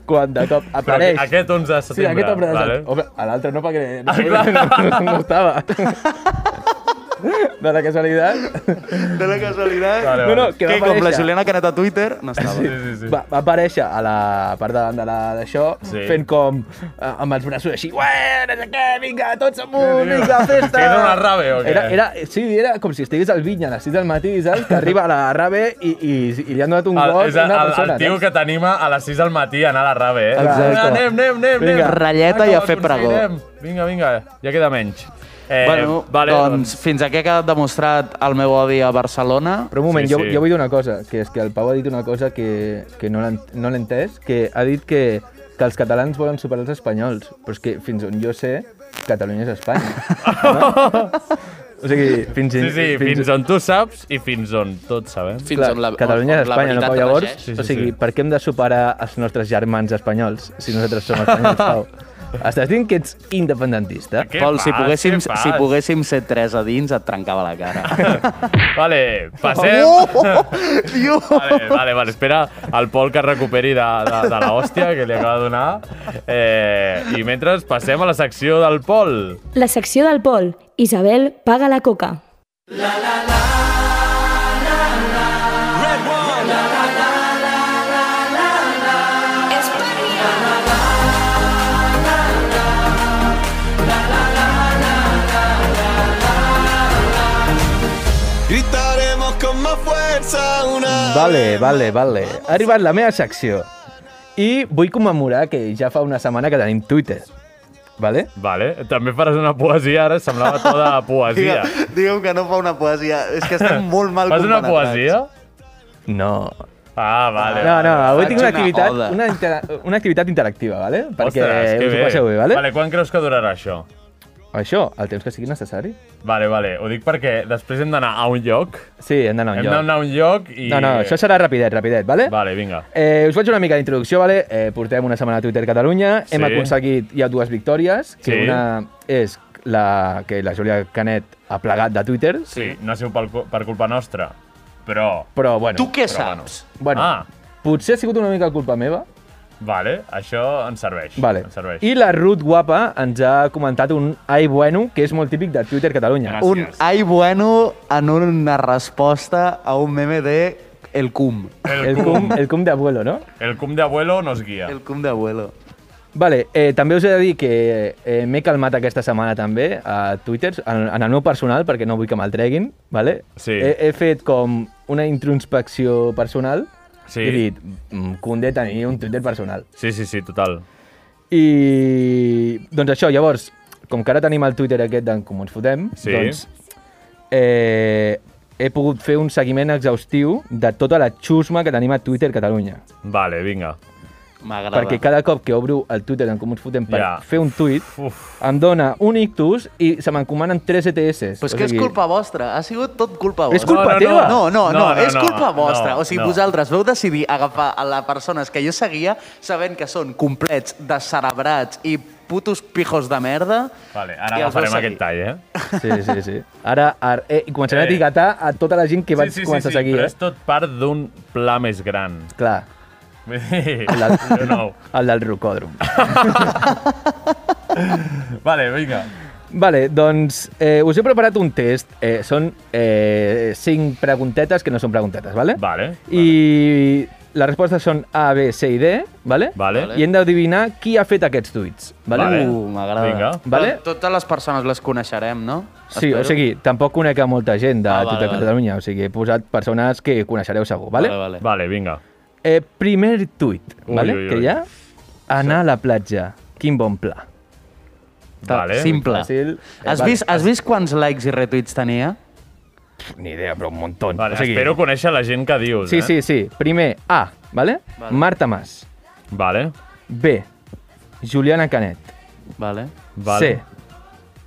quan de cop Però apareix... aquest 11 de sí, setembre. aquest obre de vale? vale. Home, a l'altre no, perquè no, Ah, clar. no, no, no estava. De la casualitat. De la casualitat. Vale, No, no, vale. que va Que com la aparèixer. Juliana Canet a Twitter, no estava. Sí, Sí. sí, sí. Va, va aparèixer a la part de davant de la- d'això, sí. Sí. fent com eh, amb els braços així, ué, no sé què, vinga, tots amunt, vinga, festa! Era una rave, o què? Era, era, sí, era com si estigués al vinya a les 6 del matí, saps? Que arriba a la rave i, i, i li han donat un El, gol a és el, una el, persona. el tio saps? que t'anima a les 6 del matí a anar a la rave, eh? Exacte. Anem, anem, anem, anem. Vinga. Ratlleta Ah, i a que ho fer pregó. aconseguirem. Vinga, vinga, ja queda menys. Eh, bueno, vale, doncs, fins aquí ha quedat demostrat el meu odi a Barcelona. Però un moment, Sí, sí, sí. sí. Jo, jo vull dir una cosa, que és que el Pau ha dit una cosa que, que no l'han- no l'he entès, que ha dit que, que els catalans volen superar els espanyols, però és que fins on jo sé, Catalunya és Espanya. No? O sigui, fins, Sí, sí, fins on tu saps i fins on tots sabem. Fins Clar, on la, Catalunya on, és on la Espanya, no veritat Pau? Llavors, regeix. sí, sí, o sigui, sí. per què hem de superar els nostres germans espanyols si nosaltres som espanyols, Pau? Estàs dient que ets independentista? Què Pol, si fas, poguéssim, què fas? si poguéssim ser tres a dins, et trencava la cara. Vale, passem... Oh! Tio! Vale, vale, vale, espera el Pol que es recuperi de, de, de la hòstia que li acaba de donar. Eh, I mentre passem a la secció del Pol. La secció del Pol. Isabel paga la coca. Gritaremos con más fuerza una. Vale, vale, vale. Ha arribat la meva secció. I vull commemorar que ja fa una setmana que tenim Twitter. Vale? Vale, també faràs una poesia ara, semblava toda poesia. Digue'm, digue'm que no fa una poesia. És que estem molt mal Fas una compenetrats. poesia? No. Ah, vale. No, no, avui Faig tinc una una activitat, oda. una, intera- una activitat interactiva, vale? Perquè Ostres, que us ho bé. passeu bé, vale? Vale, quan creus que durarà això? Això, el temps que sigui necessari. Vale, vale, ho dic perquè després hem d'anar a un lloc. Sí, hem d'anar a un Hem lloc. d'anar a un lloc i... No, no, això serà rapidet, rapidet, vale? Vale, vinga. Eh, us faig una mica d'introducció, vale? Eh, portem una setmana a Twitter Catalunya, hem Sí. aconseguit ja dues victòries, que Sí. una és la que la Júlia Canet ha plegat de Twitter, Sí, no ha sigut per, cul- per culpa nostra, però... però bueno, Tu què Però bueno. saps? bueno Ah. potser ha sigut una mica culpa meva, Vale, això ens serveix. vale. Ens serveix. i la Ruth Guapa ens ha comentat un ai bueno, que és molt típic de Twitter Catalunya. Gràcies. Un ai bueno en una resposta a un meme de El Cum. El cum, el cum d'abuelo, no? El cum de abuelo nos guia. El Cum de abuelo. Vale, eh, també us he de dir que eh, m'he calmat aquesta setmana també a Twitter, en, en el meu personal, perquè no vull que me'l treguin, vale? Sí. He, he fet com una introspecció personal Sí. i he dit, "Mm, condé tenir un Twitter personal. Sí, sí, sí, total. I doncs això, llavors, com que ara tenim el Twitter aquest d'en Comú ens fotem, Sí. doncs eh, he pogut fer un seguiment exhaustiu de tota la xusma que tenim a Twitter Catalunya. Vale, vinga. M'agrada. Perquè cada cop que obro el Twitter d'en Comú ens fotem per Ja. fer un tuit, Uf. em dona un ictus i se m'encomanen E 3 ETS. Però és que és culpa vostra, ha sigut tot culpa vostra. És culpa No, no, no. teva! No, no, no, no, No, no, és no, culpa no, vostra. o sigui, no. vosaltres veu decidir agafar a les persones que jo seguia sabent que són complets, descerebrats i putos pijos de merda. Vale, ara i els vau agafarem aquest seguir. tall, eh? Sí, sí, sí. Ara, ara eh, i començaré Eh. a etiquetar a tota la gent que vaig començar a seguir. però eh? és tot part d'un pla més gran. Clar, Vull dir, el del, no. el del rocòdrom. Vale, vinga. Vale, doncs eh, us he preparat un test. Eh, són eh, cinc preguntetes que no són preguntetes, vale? Vale, I les respostes són A, B, C i D, vale? Vale. I hem d'adivinar qui ha fet aquests tuits, vale? Vale. Uh, m'agrada. Vinga. Vale? Però Totes les persones les coneixerem, no? Sí, Espero. o sigui, tampoc conec a molta gent de Ah, ah, vale, tota vale. Catalunya, o sigui, he posat persones que coneixereu segur, vale? Vale, vale. Vale, vinga. Eh, primer tuit, Ui, ¿vale? ui, que ui. hi ha? Anar a la platja. Quin bon pla. Vale. Simple. Fàcil. Has Eh, vist, has vist quants likes i retuits tenia? Ni idea, però un montón. Vale, espero conèixer la gent que dius, Sí, eh? sí, sí. Primer, A, ¿vale? Marta Mas. Vale, B, Juliana Canet. Vale. vale. C,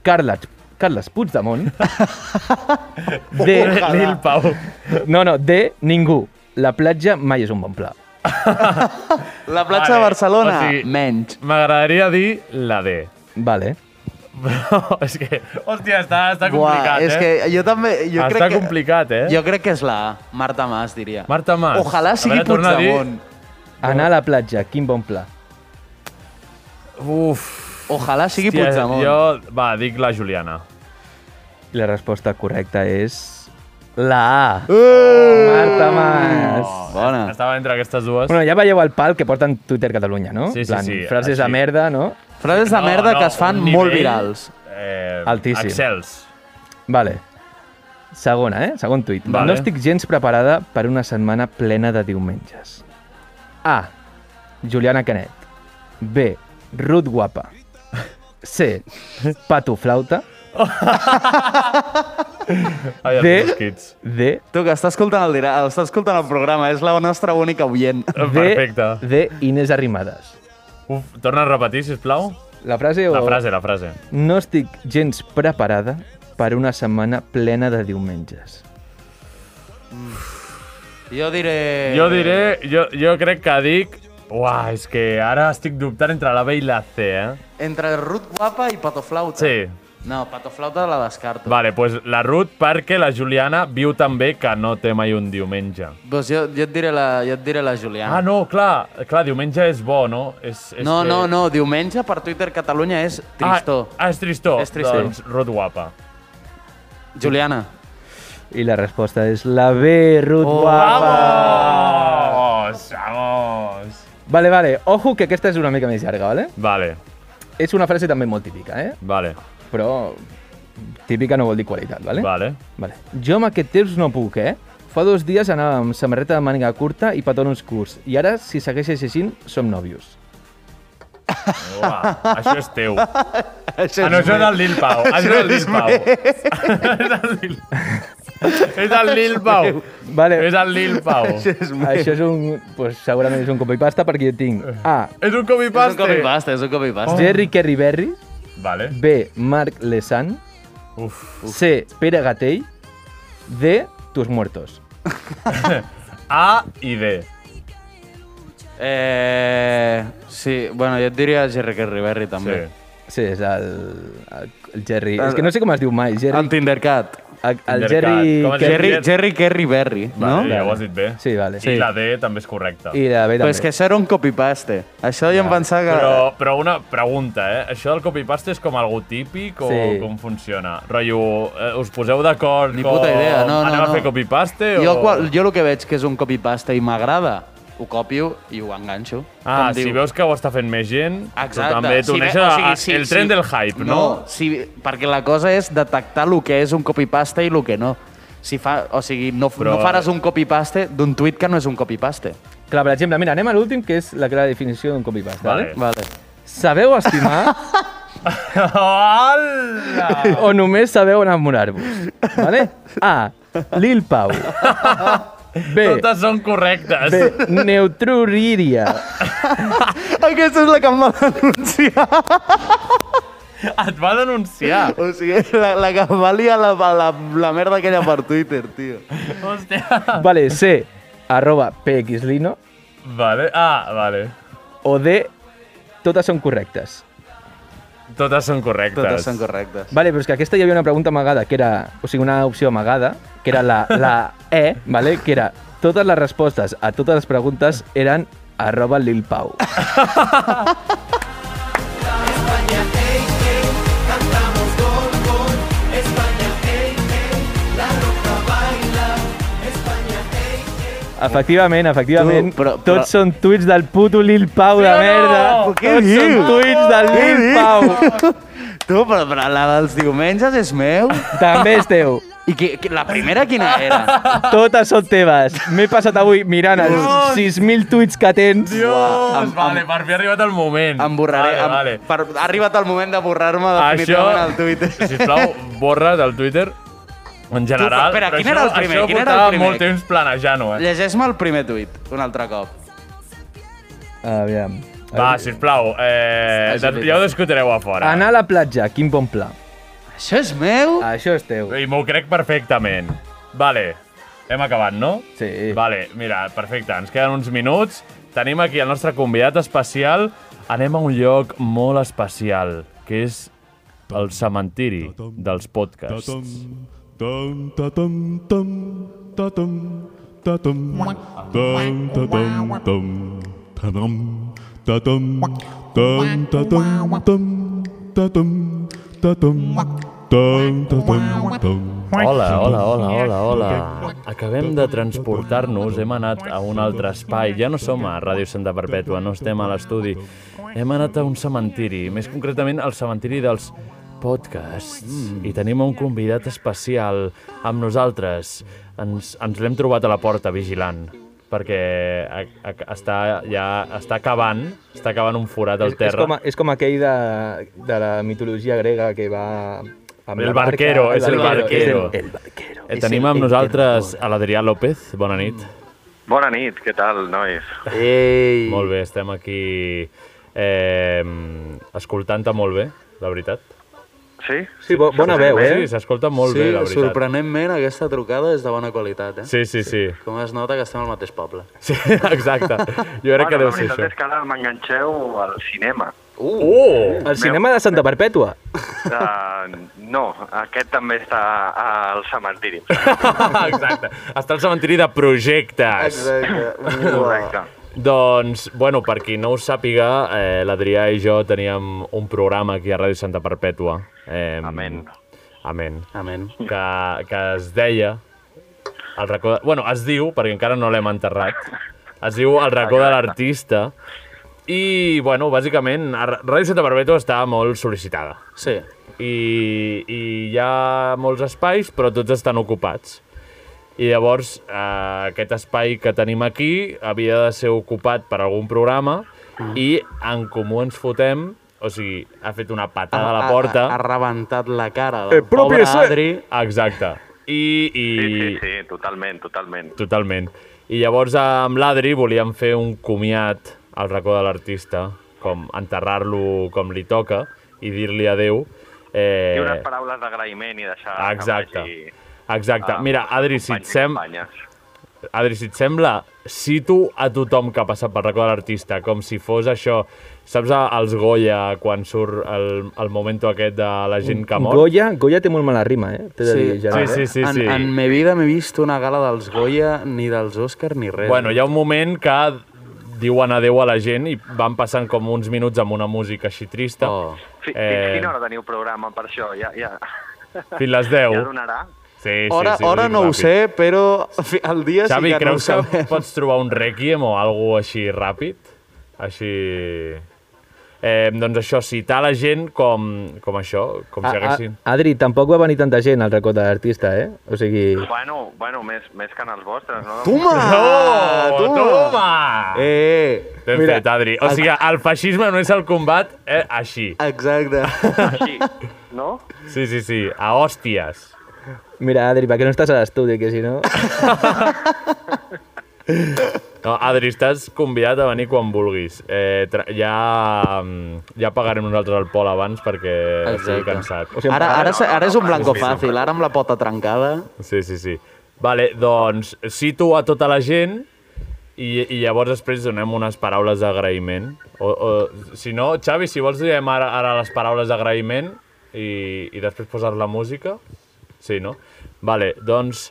Carles, Carles Puigdemont. D, Lil Pau. no, no, D, ningú. La platja mai és un bon pla. La Vale, platja de Barcelona, o sigui- menys. M'agradaria dir la D. Vale. Però és que... Hòstia, està, està Buah, complicat, és eh? que jo també... Jo està crec que... complicat, eh? Jo crec que és la A, Marta Mas, diria. Marta Mas. Ojalà sigui a veure, torna a dir- Puigdemont. Anar a la platja, quin bon pla. Uf, Ojalà sigui hòstia, Puigdemont. jo... Va, dic la Juliana. I la resposta correcta és... La A. Eh! Marta Mas. Oh. Bona. Estava entre aquestes dues. Bueno, ja veieu el pal que porten Twitter Catalunya, no? Sí, sí, Plan, sí, Frases així. de merda, no? Frases de No, merda no, que es fan un molt nivell, virals. Eh, Altíssim. Excels. Vale. Segona, eh? Segon tuit. Vale. No estic gens preparada per una setmana plena de diumenges. A. Juliana Canet. B. Ruth Guapa. C. Pato Flauta. Ai, De- els meus kits. D. Tu, que estàs escoltant el, dira... estàs escoltant el programa, és la nostra única oient. Perfecte. D. D. Inés Arrimadas. Uf, torna a repetir, sisplau. La frase o... Oh. La frase, la frase. No estic gens preparada per una setmana plena de diumenges. Jo diré... Jo diré, jo, jo crec que dic... Uah, és que ara estic dubtant entre la B i la C, eh? Entre Ruth Guapa i Patoflauta. Sí. No, Patoflauta la descarto. Vale, pues la Ruth perquè la Juliana viu també que no té mai un diumenge. Doncs jo, jo, et diré la, jo et diré la Juliana. Ah, no, clar, clar, diumenge és bo, no? És, és no, que... no, no, diumenge per Twitter Catalunya és tristó. Ah, ah, és tristó. És tristó. Doncs Ruth guapa. Juliana. I la resposta és la B, Ruth oh, Guapa. Vamos, vamos. Vale, vale. Ojo, que aquesta és una mica més llarga, vale? Vale, És una frase també molt típica, eh? vale, però típica no vol dir qualitat, vale? vale. vale. Jo amb aquest temps no puc, eh? Fa dos dies anava amb samarreta de màniga curta i petons curts, i ara, si segueixes així, som nòvios. Uah, això és teu. Ah, Això no, això és el Lil Pau. Això és el Lil és Pau. és el Lil... és el Lil Pau. Vale, És el Lil Pau. és això és un... Pues, segurament és un cop i pasta perquè jo tinc A. És un És un copy-paste. Oh. copypasta, és un copypasta. Jerry Kerry Berry, Vale. B. Marc Lesan, Uf. C. Pere Gatell, D. Tus muertos. A i D. Eh, sí, bueno, jo et diria Jerry Riverri Sí. també. Sí, és el, el, el Jerry... És que no sé com es diu mai, Jerry... El Tindercat. El, el Tindercat. Jerry... Com es diu? Jerry, Jerry- Jerry Kerry Berry, no? Vale, ja ho has dit bé. Sí, vale. I la D també és correcta. I la B Però també. és que això era un copypaste. Això jo em pensava que... Però, però una pregunta, eh? Això del copy-paste és com algo típic o Sí. com funciona? Rotllo, eh, us poseu d'acord Ni com... puta idea, no, no, Anem no. a fer copy-paste o... Jo, qual, jo el que veig que és un copypaste i m'agrada, ho copio i ho enganxo. Ah, Com si diu. veus que ho està fent més gent, Exacte. tu també ve- t'uneixes o si sigui, sí, el sí. tren del hype, no? No, si, perquè la cosa és detectar el que és un copypaste i el que no. Si fa, o sigui, no, Però- Però... no faràs un copypaste d'un tuit que no és un copypaste. Clar, per exemple, mira, anem a l'últim, que és la clara definició d'un copy-paste. Vale. Vale. Vale. Sabeu estimar Hola! o només sabeu enamorar-vos? Vale? A. Lil Pau. B. Totes són correctes. B. Neutruriria. Aquesta és la que em va denunciar. Et va denunciar. O sigui, la, la que em va liar la, la, la merda aquella per Twitter, tio. Hòstia. Vale, C. Arroba PXLino. Vale. Ah, vale. O D. Totes són correctes. Totes són correctes. Totes són correctes. Vale, però és que aquesta hi havia una pregunta amagada, que era, o sigui, una opció amagada, que era la, la E, vale? que era totes les respostes a totes les preguntes eren arroba Lil Pau. Efectivament, efectivament, Tu, però, però- però... però- tots són tuits del puto Lil Pau de merda. Però què tots són dius? tuits del Què Lil dius? Pau. Tu, però, però la dels diumenges és meu? També és teu. I qui, qui, la primera quina era? Totes són teves. M'he passat avui mirant els 6.000 tuits que tens. Dios, Doncs vale, per fi ha arribat el moment. Em borraré. Vale, em- vale. Per, ha arribat el moment de borrar-me Això, definitivament al Twitter. sisplau, borra del Twitter en general. espera, però quin això- era el primer? Això Quin era el portava primer? molt temps planejant-ho, eh? Llegeix-me el primer tuit, un altre cop. Aviam. Va, sisplau, eh, Agilitat. ja ho discutireu a fora. Anar a la platja, quin bon pla. Això és meu? Això és teu. I m'ho crec perfectament. Vale, hem acabat, no? Sí. Vale, mira, perfecte, ens queden uns minuts. Tenim aquí el nostre convidat especial. Anem a un lloc molt especial, que és el cementiri dels podcasts. Hola, hola, hola, hola, hola. Acabem de transportar-nos, hem anat a un altre espai. Ja no som a Ràdio Santa Perpètua, no estem a l'estudi. Hem anat a un cementiri, més concretament al cementiri dels podcasts. I tenim un convidat especial amb nosaltres. Ens, ens l'hem trobat a la porta vigilant perquè a, a, està, ja està acabant, està acabant un forat al És, és, terra. com, és com aquell de, de la mitologia grega que va... Amb El la barca, barquero, és el barquero. és El, el barquero. Eh, tenim amb nosaltres a l'Adrià López. Bona nit. Bona nit, què tal, nois? Ei. Molt bé, estem aquí eh, escoltant-te molt bé, la veritat. Sí? Sí, bo, bona veu, eh? Sí, s'escolta molt sí, bé, la veritat. sorprenentment aquesta trucada és de bona qualitat, eh? Sí, sí, sí. Com es nota que estem al mateix poble. sí exacte. Jo crec que bueno, deu la ser veritat això. és que ara m'enganxeu al cinema. Oh! El cinema de Santa Perpètua. Uh, no, aquest també està al cementiri. Exacte. Està al cementiri de projectes. Exacte. Correcte. Doncs, bueno, per qui no ho sàpiga, eh, l'Adrià i jo teníem un programa aquí a Ràdio Santa Perpètua. Eh, Amén. Amén. Amén. que, que es deia el racó de... Bueno, es diu, perquè encara no l'hem enterrat, es diu el racó de l'artista i, bueno, bàsicament, a Ra- Ràdio Santa Perpètua està molt sol·licitada Sí. i, i hi ha molts espais, però tots estan ocupats. I llavors eh, aquest espai que tenim aquí havia de ser ocupat per algun programa i en comú ens fotem, o sigui, ha fet una patada a la porta. Ha, ha, ha rebentat la cara del El propi pobre ser. Adri. Exacte. I, i... Sí, sí, sí, totalment, totalment. Totalment. I llavors amb l'Adri volíem fer un comiat al racó de l'artista, com enterrar-lo com li toca i dir-li adeu. Eh... I unes paraules d'agraïment i deixar... que Exacte. vagi Exacte. a- Mira, Adri, si et, companys i sem... companyes. Adri, si et sembla, cito a tothom que ha passat pel racó de l'artista, com si fos això... Saps a- als Goya, quan surt el, el moment aquest de la gent que mor? Goya, Goya té molt mala rima, eh? T'he de Sí. dir, Gerard, Sí, sí, eh? sí, en, sí. En me vida m'he vist una gala dels Goya, ni dels Òscar, ni res. Bueno, hi ha un moment que diuen adeu a la gent i van passant com uns minuts amb una música així trista. Oh. Fi- Fins Eh. quina hora teniu programa per això? Ja, ja, Fins les ja 10. donarà? Sí, sí, Hora, sí, ho hora dic no ho ràpid. sé, però fi- el dia Xavi, sí que no ho creus que sabem. pots trobar un Requiem o algo així ràpid? Així... Eh, doncs això, citar la gent com, com això, com Ah, si A, haguessin... a, Adri, tampoc va venir tanta gent al racó de l'artista, eh? O sigui... Bueno, bueno, més, més que en els vostres, no? Toma! Oh, toma! Eh, Eh, T'hem mira, fet, Adri. O sigui, el feixisme no és el combat eh, així. exacte. Així, no? Sí, sí, sí, a hòsties. Mira, Adri, perquè no estàs a l'estudi, que si no... No, Adri, estàs convidat a venir quan vulguis. Eh, tra- ja, mm, ja pagarem nosaltres el Pol abans perquè estic Exacte. cansat. O sigui, Ara, ara, no, no, ara és no, un no, blanco no, no. fàcil, ara amb la pota trencada. Sí, sí, sí. Vale, doncs cito a tota la gent i, i llavors després donem unes paraules d'agraïment. O, o, si no, Xavi, si vols diem ara, ara les paraules d'agraïment i, i després posar la música. Sí, no? Vale, doncs,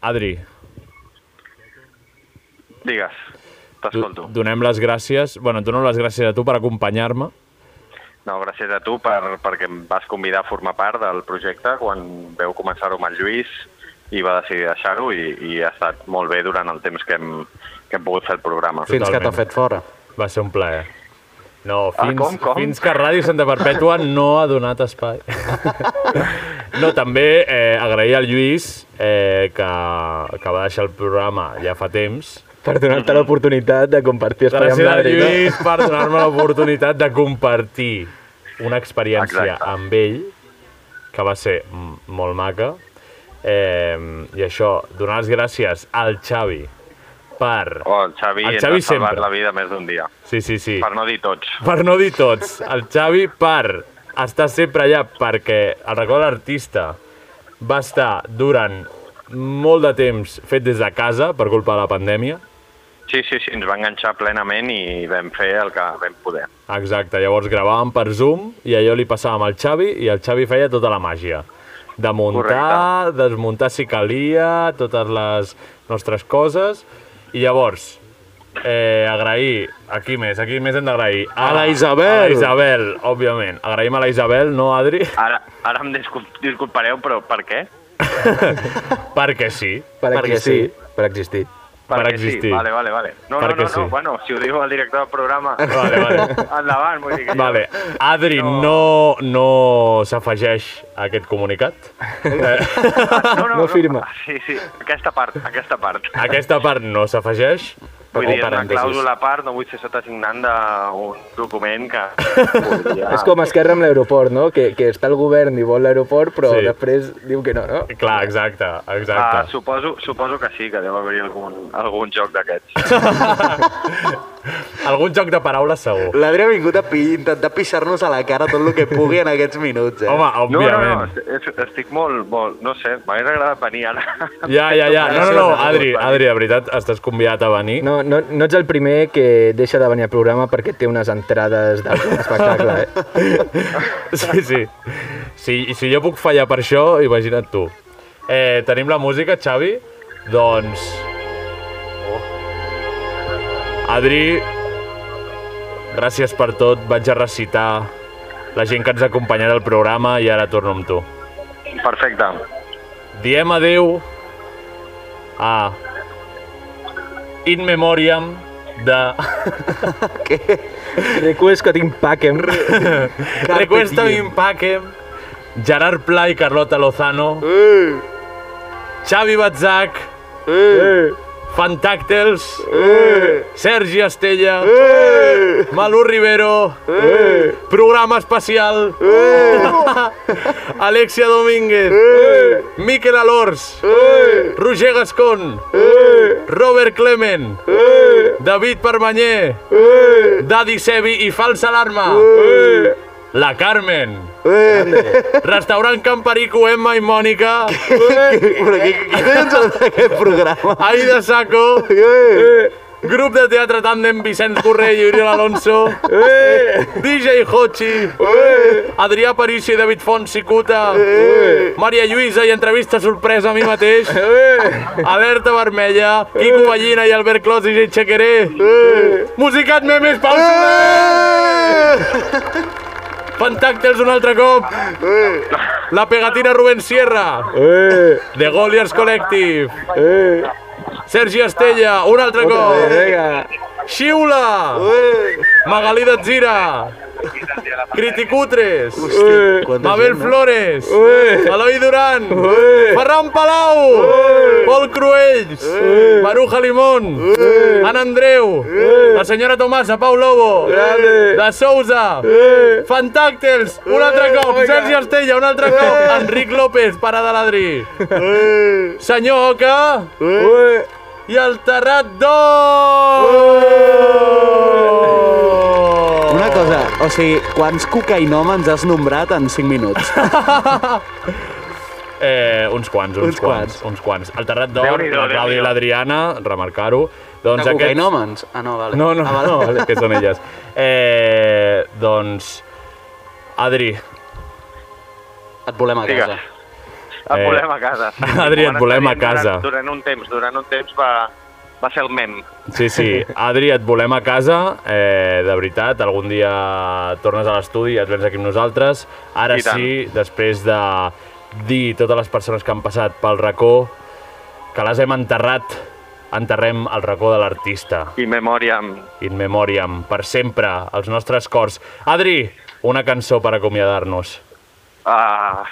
Adri, Digues, do- t'escolto. donem les gràcies... Bueno, et dono les gràcies a tu per acompanyar-me. No, gràcies a tu per, perquè em vas convidar a formar part del projecte quan veu començar-ho amb el Lluís i va decidir deixar-ho i, i ha estat molt bé durant el temps que hem, que hem pogut fer el programa. Fins que t'ha Totalment. fet fora. Va ser un plaer. No, fins, Ah, com, com? fins que Ràdio Santa Perpètua no ha donat espai. No, també eh, agrair al Lluís, eh, que, que va deixar el programa ja fa temps. Per donar-te l'oportunitat de compartir espai amb Gràcies, eh? l'Adri. no? Lluís, per donar-me l'oportunitat de compartir una experiència Exacte. amb ell, que va ser mm, molt maca. Eh, I això, donar les gràcies al Xavi per... Oh, el Xavi, El el Xavi Xavi ens ha salvat sempre. la vida més d'un dia. Sí, sí, sí. Per no dir tots. Per no dir tots, el Xavi per estar sempre allà perquè el record de l'artista va estar durant molt de temps fet des de casa per culpa de la pandèmia. Sí, sí, sí, ens va enganxar plenament i vam fer el que vam poder. Exacte, llavors gravàvem per Zoom i allò li passàvem al Xavi i el Xavi feia tota la màgia. De muntar, Correcte. desmuntar si calia, totes les nostres coses. I llavors, eh, agrair, aquí més, aquí més hem d'agrair. A la Isabel. A la Isabel, òbviament. Agraïm a la Isabel, no, Adri? Ara, ara em discul- disculpareu, però per què? Perquè sí. Per Perquè existir. sí. Per existir. Per Perquè existir. Sí, vale, vale, vale. No, Perquè no, no, no, sí. bueno, si ho diu el director del programa, Vale, vale. endavant, vull dir que... Vale. Adri no, no s'afegeix a aquest comunicat. Eh, No, no, ah, No firma. Sí, sí, aquesta part, aquesta part. aquesta part no s'afegeix. O Vull dir, és una parèntesis. clàusula a part, no vull ser sota signant d'un document que... És com Esquerra amb l'aeroport, no? Que, que està el govern i vol l'aeroport, però Sí. sí. després diu que no, no? Clar, exacte, exacte. Ah, suposo, suposo que sí, que deu haver-hi algun, algun joc d'aquests. Algun joc de paraules segur. L'Adri ha vingut a pi intentar pixar-nos a la cara tot el que pugui en aquests minuts, eh? No, no, no, est- estic molt, molt... No sé, m'hagués agradat venir ara. Ja, ja, ja. No, no, no, Adri, Adri, de veritat, estàs convidat a venir. No, no, no ets el primer que deixa de venir al programa perquè té unes entrades d'algun espectacle, eh? Sí, sí. Si, si jo puc fallar per això, imagina't tu. Eh, tenim la música, Xavi? Doncs... Adri, gràcies per tot. Vaig a recitar la gent que ens ha acompanyat al programa i ara torno amb tu. Perfecte. Diem adeu a In Memoriam de... Què? Request que t'impaquen. Recuesta mi empaque. Gerard Pla i Carlota Lozano. Xavi Batzac. Fantàctels. Sergi Estella. Malú Rivero. Programa especial. Alexia Domínguez. Miquel Alors. Roger Gascon. Robert Clement. David Permanyer. Daddy Sebi i Falsa Alarma. La Carmen. Eh. Restaurant Camperico, Emma i Mònica. Eh. Però què tens d'aquest programa? Eh. Aida Saco. Grup de teatre tàndem Vicenç Borrell i Oriol Alonso. Eh. DJ Hochi. Adrià París i David Font Cicuta. Maria Lluïsa i entrevista sorpresa a mi mateix. Alerta Vermella. Quico Ballina i Albert Clos i Jay Xequeré. Eh. Musicat memes, Pau Soler. Pentàctels un altre cop. La pegatina Rubén Sierra. The Goliaths Collective. Sergi Estella, un altre cop. Xiula. Magalí d'Atzira. Criticutres. Mabel Flores. Eloi Duran. Ferran Palau. Pol Cruells. Maruja Limón. Anna Andreu. La senyora Tomasa, Pau Lobo. De Sousa. Fantàctels. Un altre cop. Sergi Estella, un altre cop. Enric López, pare de l'Adri. Senyor Oca. I el Terrat d'Or! Una cosa, o sigui, quants cocainòmens has nombrat en 5 minuts? Eh, uns quants, uns, Uns quants, uns quants. El Terrat d'Or, Déu-n'hi-do, la Clàudia i Déu-n'hi-do. l'Adriana, remarcar-ho. Doncs de aquests- cocainòmens? Ah, no, vale. No, no, ah, no, vale, que són elles. Eh, doncs, Adri. Et volem a Digues. casa. Et Eh, volem a casa. Sí, Adri, et com volem a ara estarien casa. Durant, durant un temps, durant un temps va, va ser el mem. Sí, sí. Adri, et volem a casa, eh, de veritat. Algun dia tornes a l'estudi i et vens aquí amb nosaltres. Ara I tant. sí, després de dir totes les persones que han passat pel racó, que les hem enterrat enterrem el racó de l'artista. In memoriam. In memoriam, per sempre, als nostres cors. Adri, una cançó per acomiadar-nos. Ah,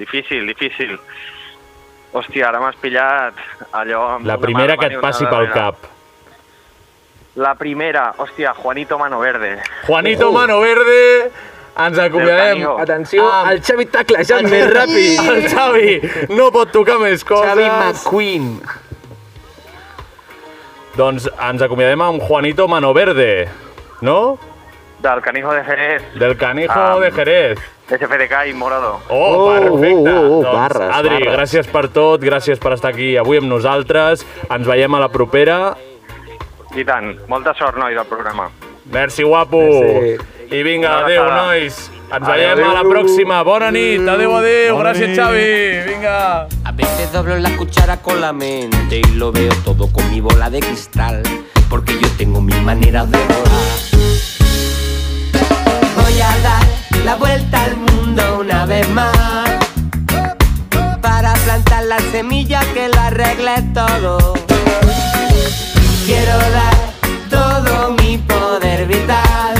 difícil, difícil. Hòstia, ara m'has pillat allò... amb La una primera mà que et i una passi pel darrere. cap. La primera, hòstia, Juanito Mano Verde. Juanito Mano Verde, ens acomiadem. Del Canigó. Atenció, amb- el Xavi està El clajant més Xavi! ràpid. El Xavi no pot tocar més coses. Xavi McQueen. Doncs ens acomiadem amb Juanito Mano Verde, no? Del Canijo de Jerez. Del Canijo Amb- de Jerez. SFDK i Morado. Oh, perfecte. oh, oh, doncs, barres, Adri, barres. gràcies per tot, gràcies per estar aquí avui amb nosaltres. Ens veiem a la propera. I tant, molta sort, nois, al programa. Merci, guapo. Merci. I vinga, Una adeu, abraçada. nois. Ens Adeu. veiem a la pròxima. Bona nit. Adeu, adeu. Bona Gràcies, nit. Xavi. Vinga. A veces doblo la cuchara con la mente y lo veo todo con mi bola de cristal, porque yo tengo mis maneras de volar. Voy a dar la vuelta al mundo una vez más, para plantar la semilla que la arregle todo. Quiero dar todo mi poder vital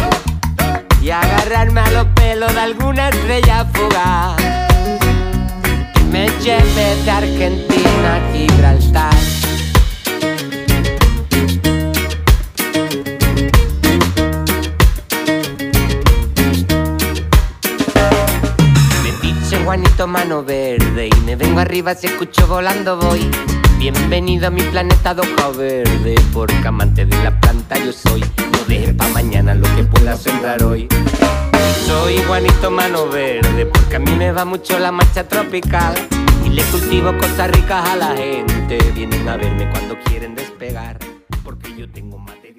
y agarrarme a los pelos de alguna estrella fugaz. Que me lleve de Argentina a Gibraltar. Me dice Juanito Mano Verde y me vengo arriba si escucho volando voy. Bienvenido a mi planeta de hoja verde, porque amante de la planta yo soy. No dejes pa' mañana lo que pueda sembrar hoy. Soy Juanito Mano Verde porque a mí me va mucho la marcha tropical y le cultivo cosas ricas a la gente. Vienen a verme cuando quieren despegar porque yo tengo mate.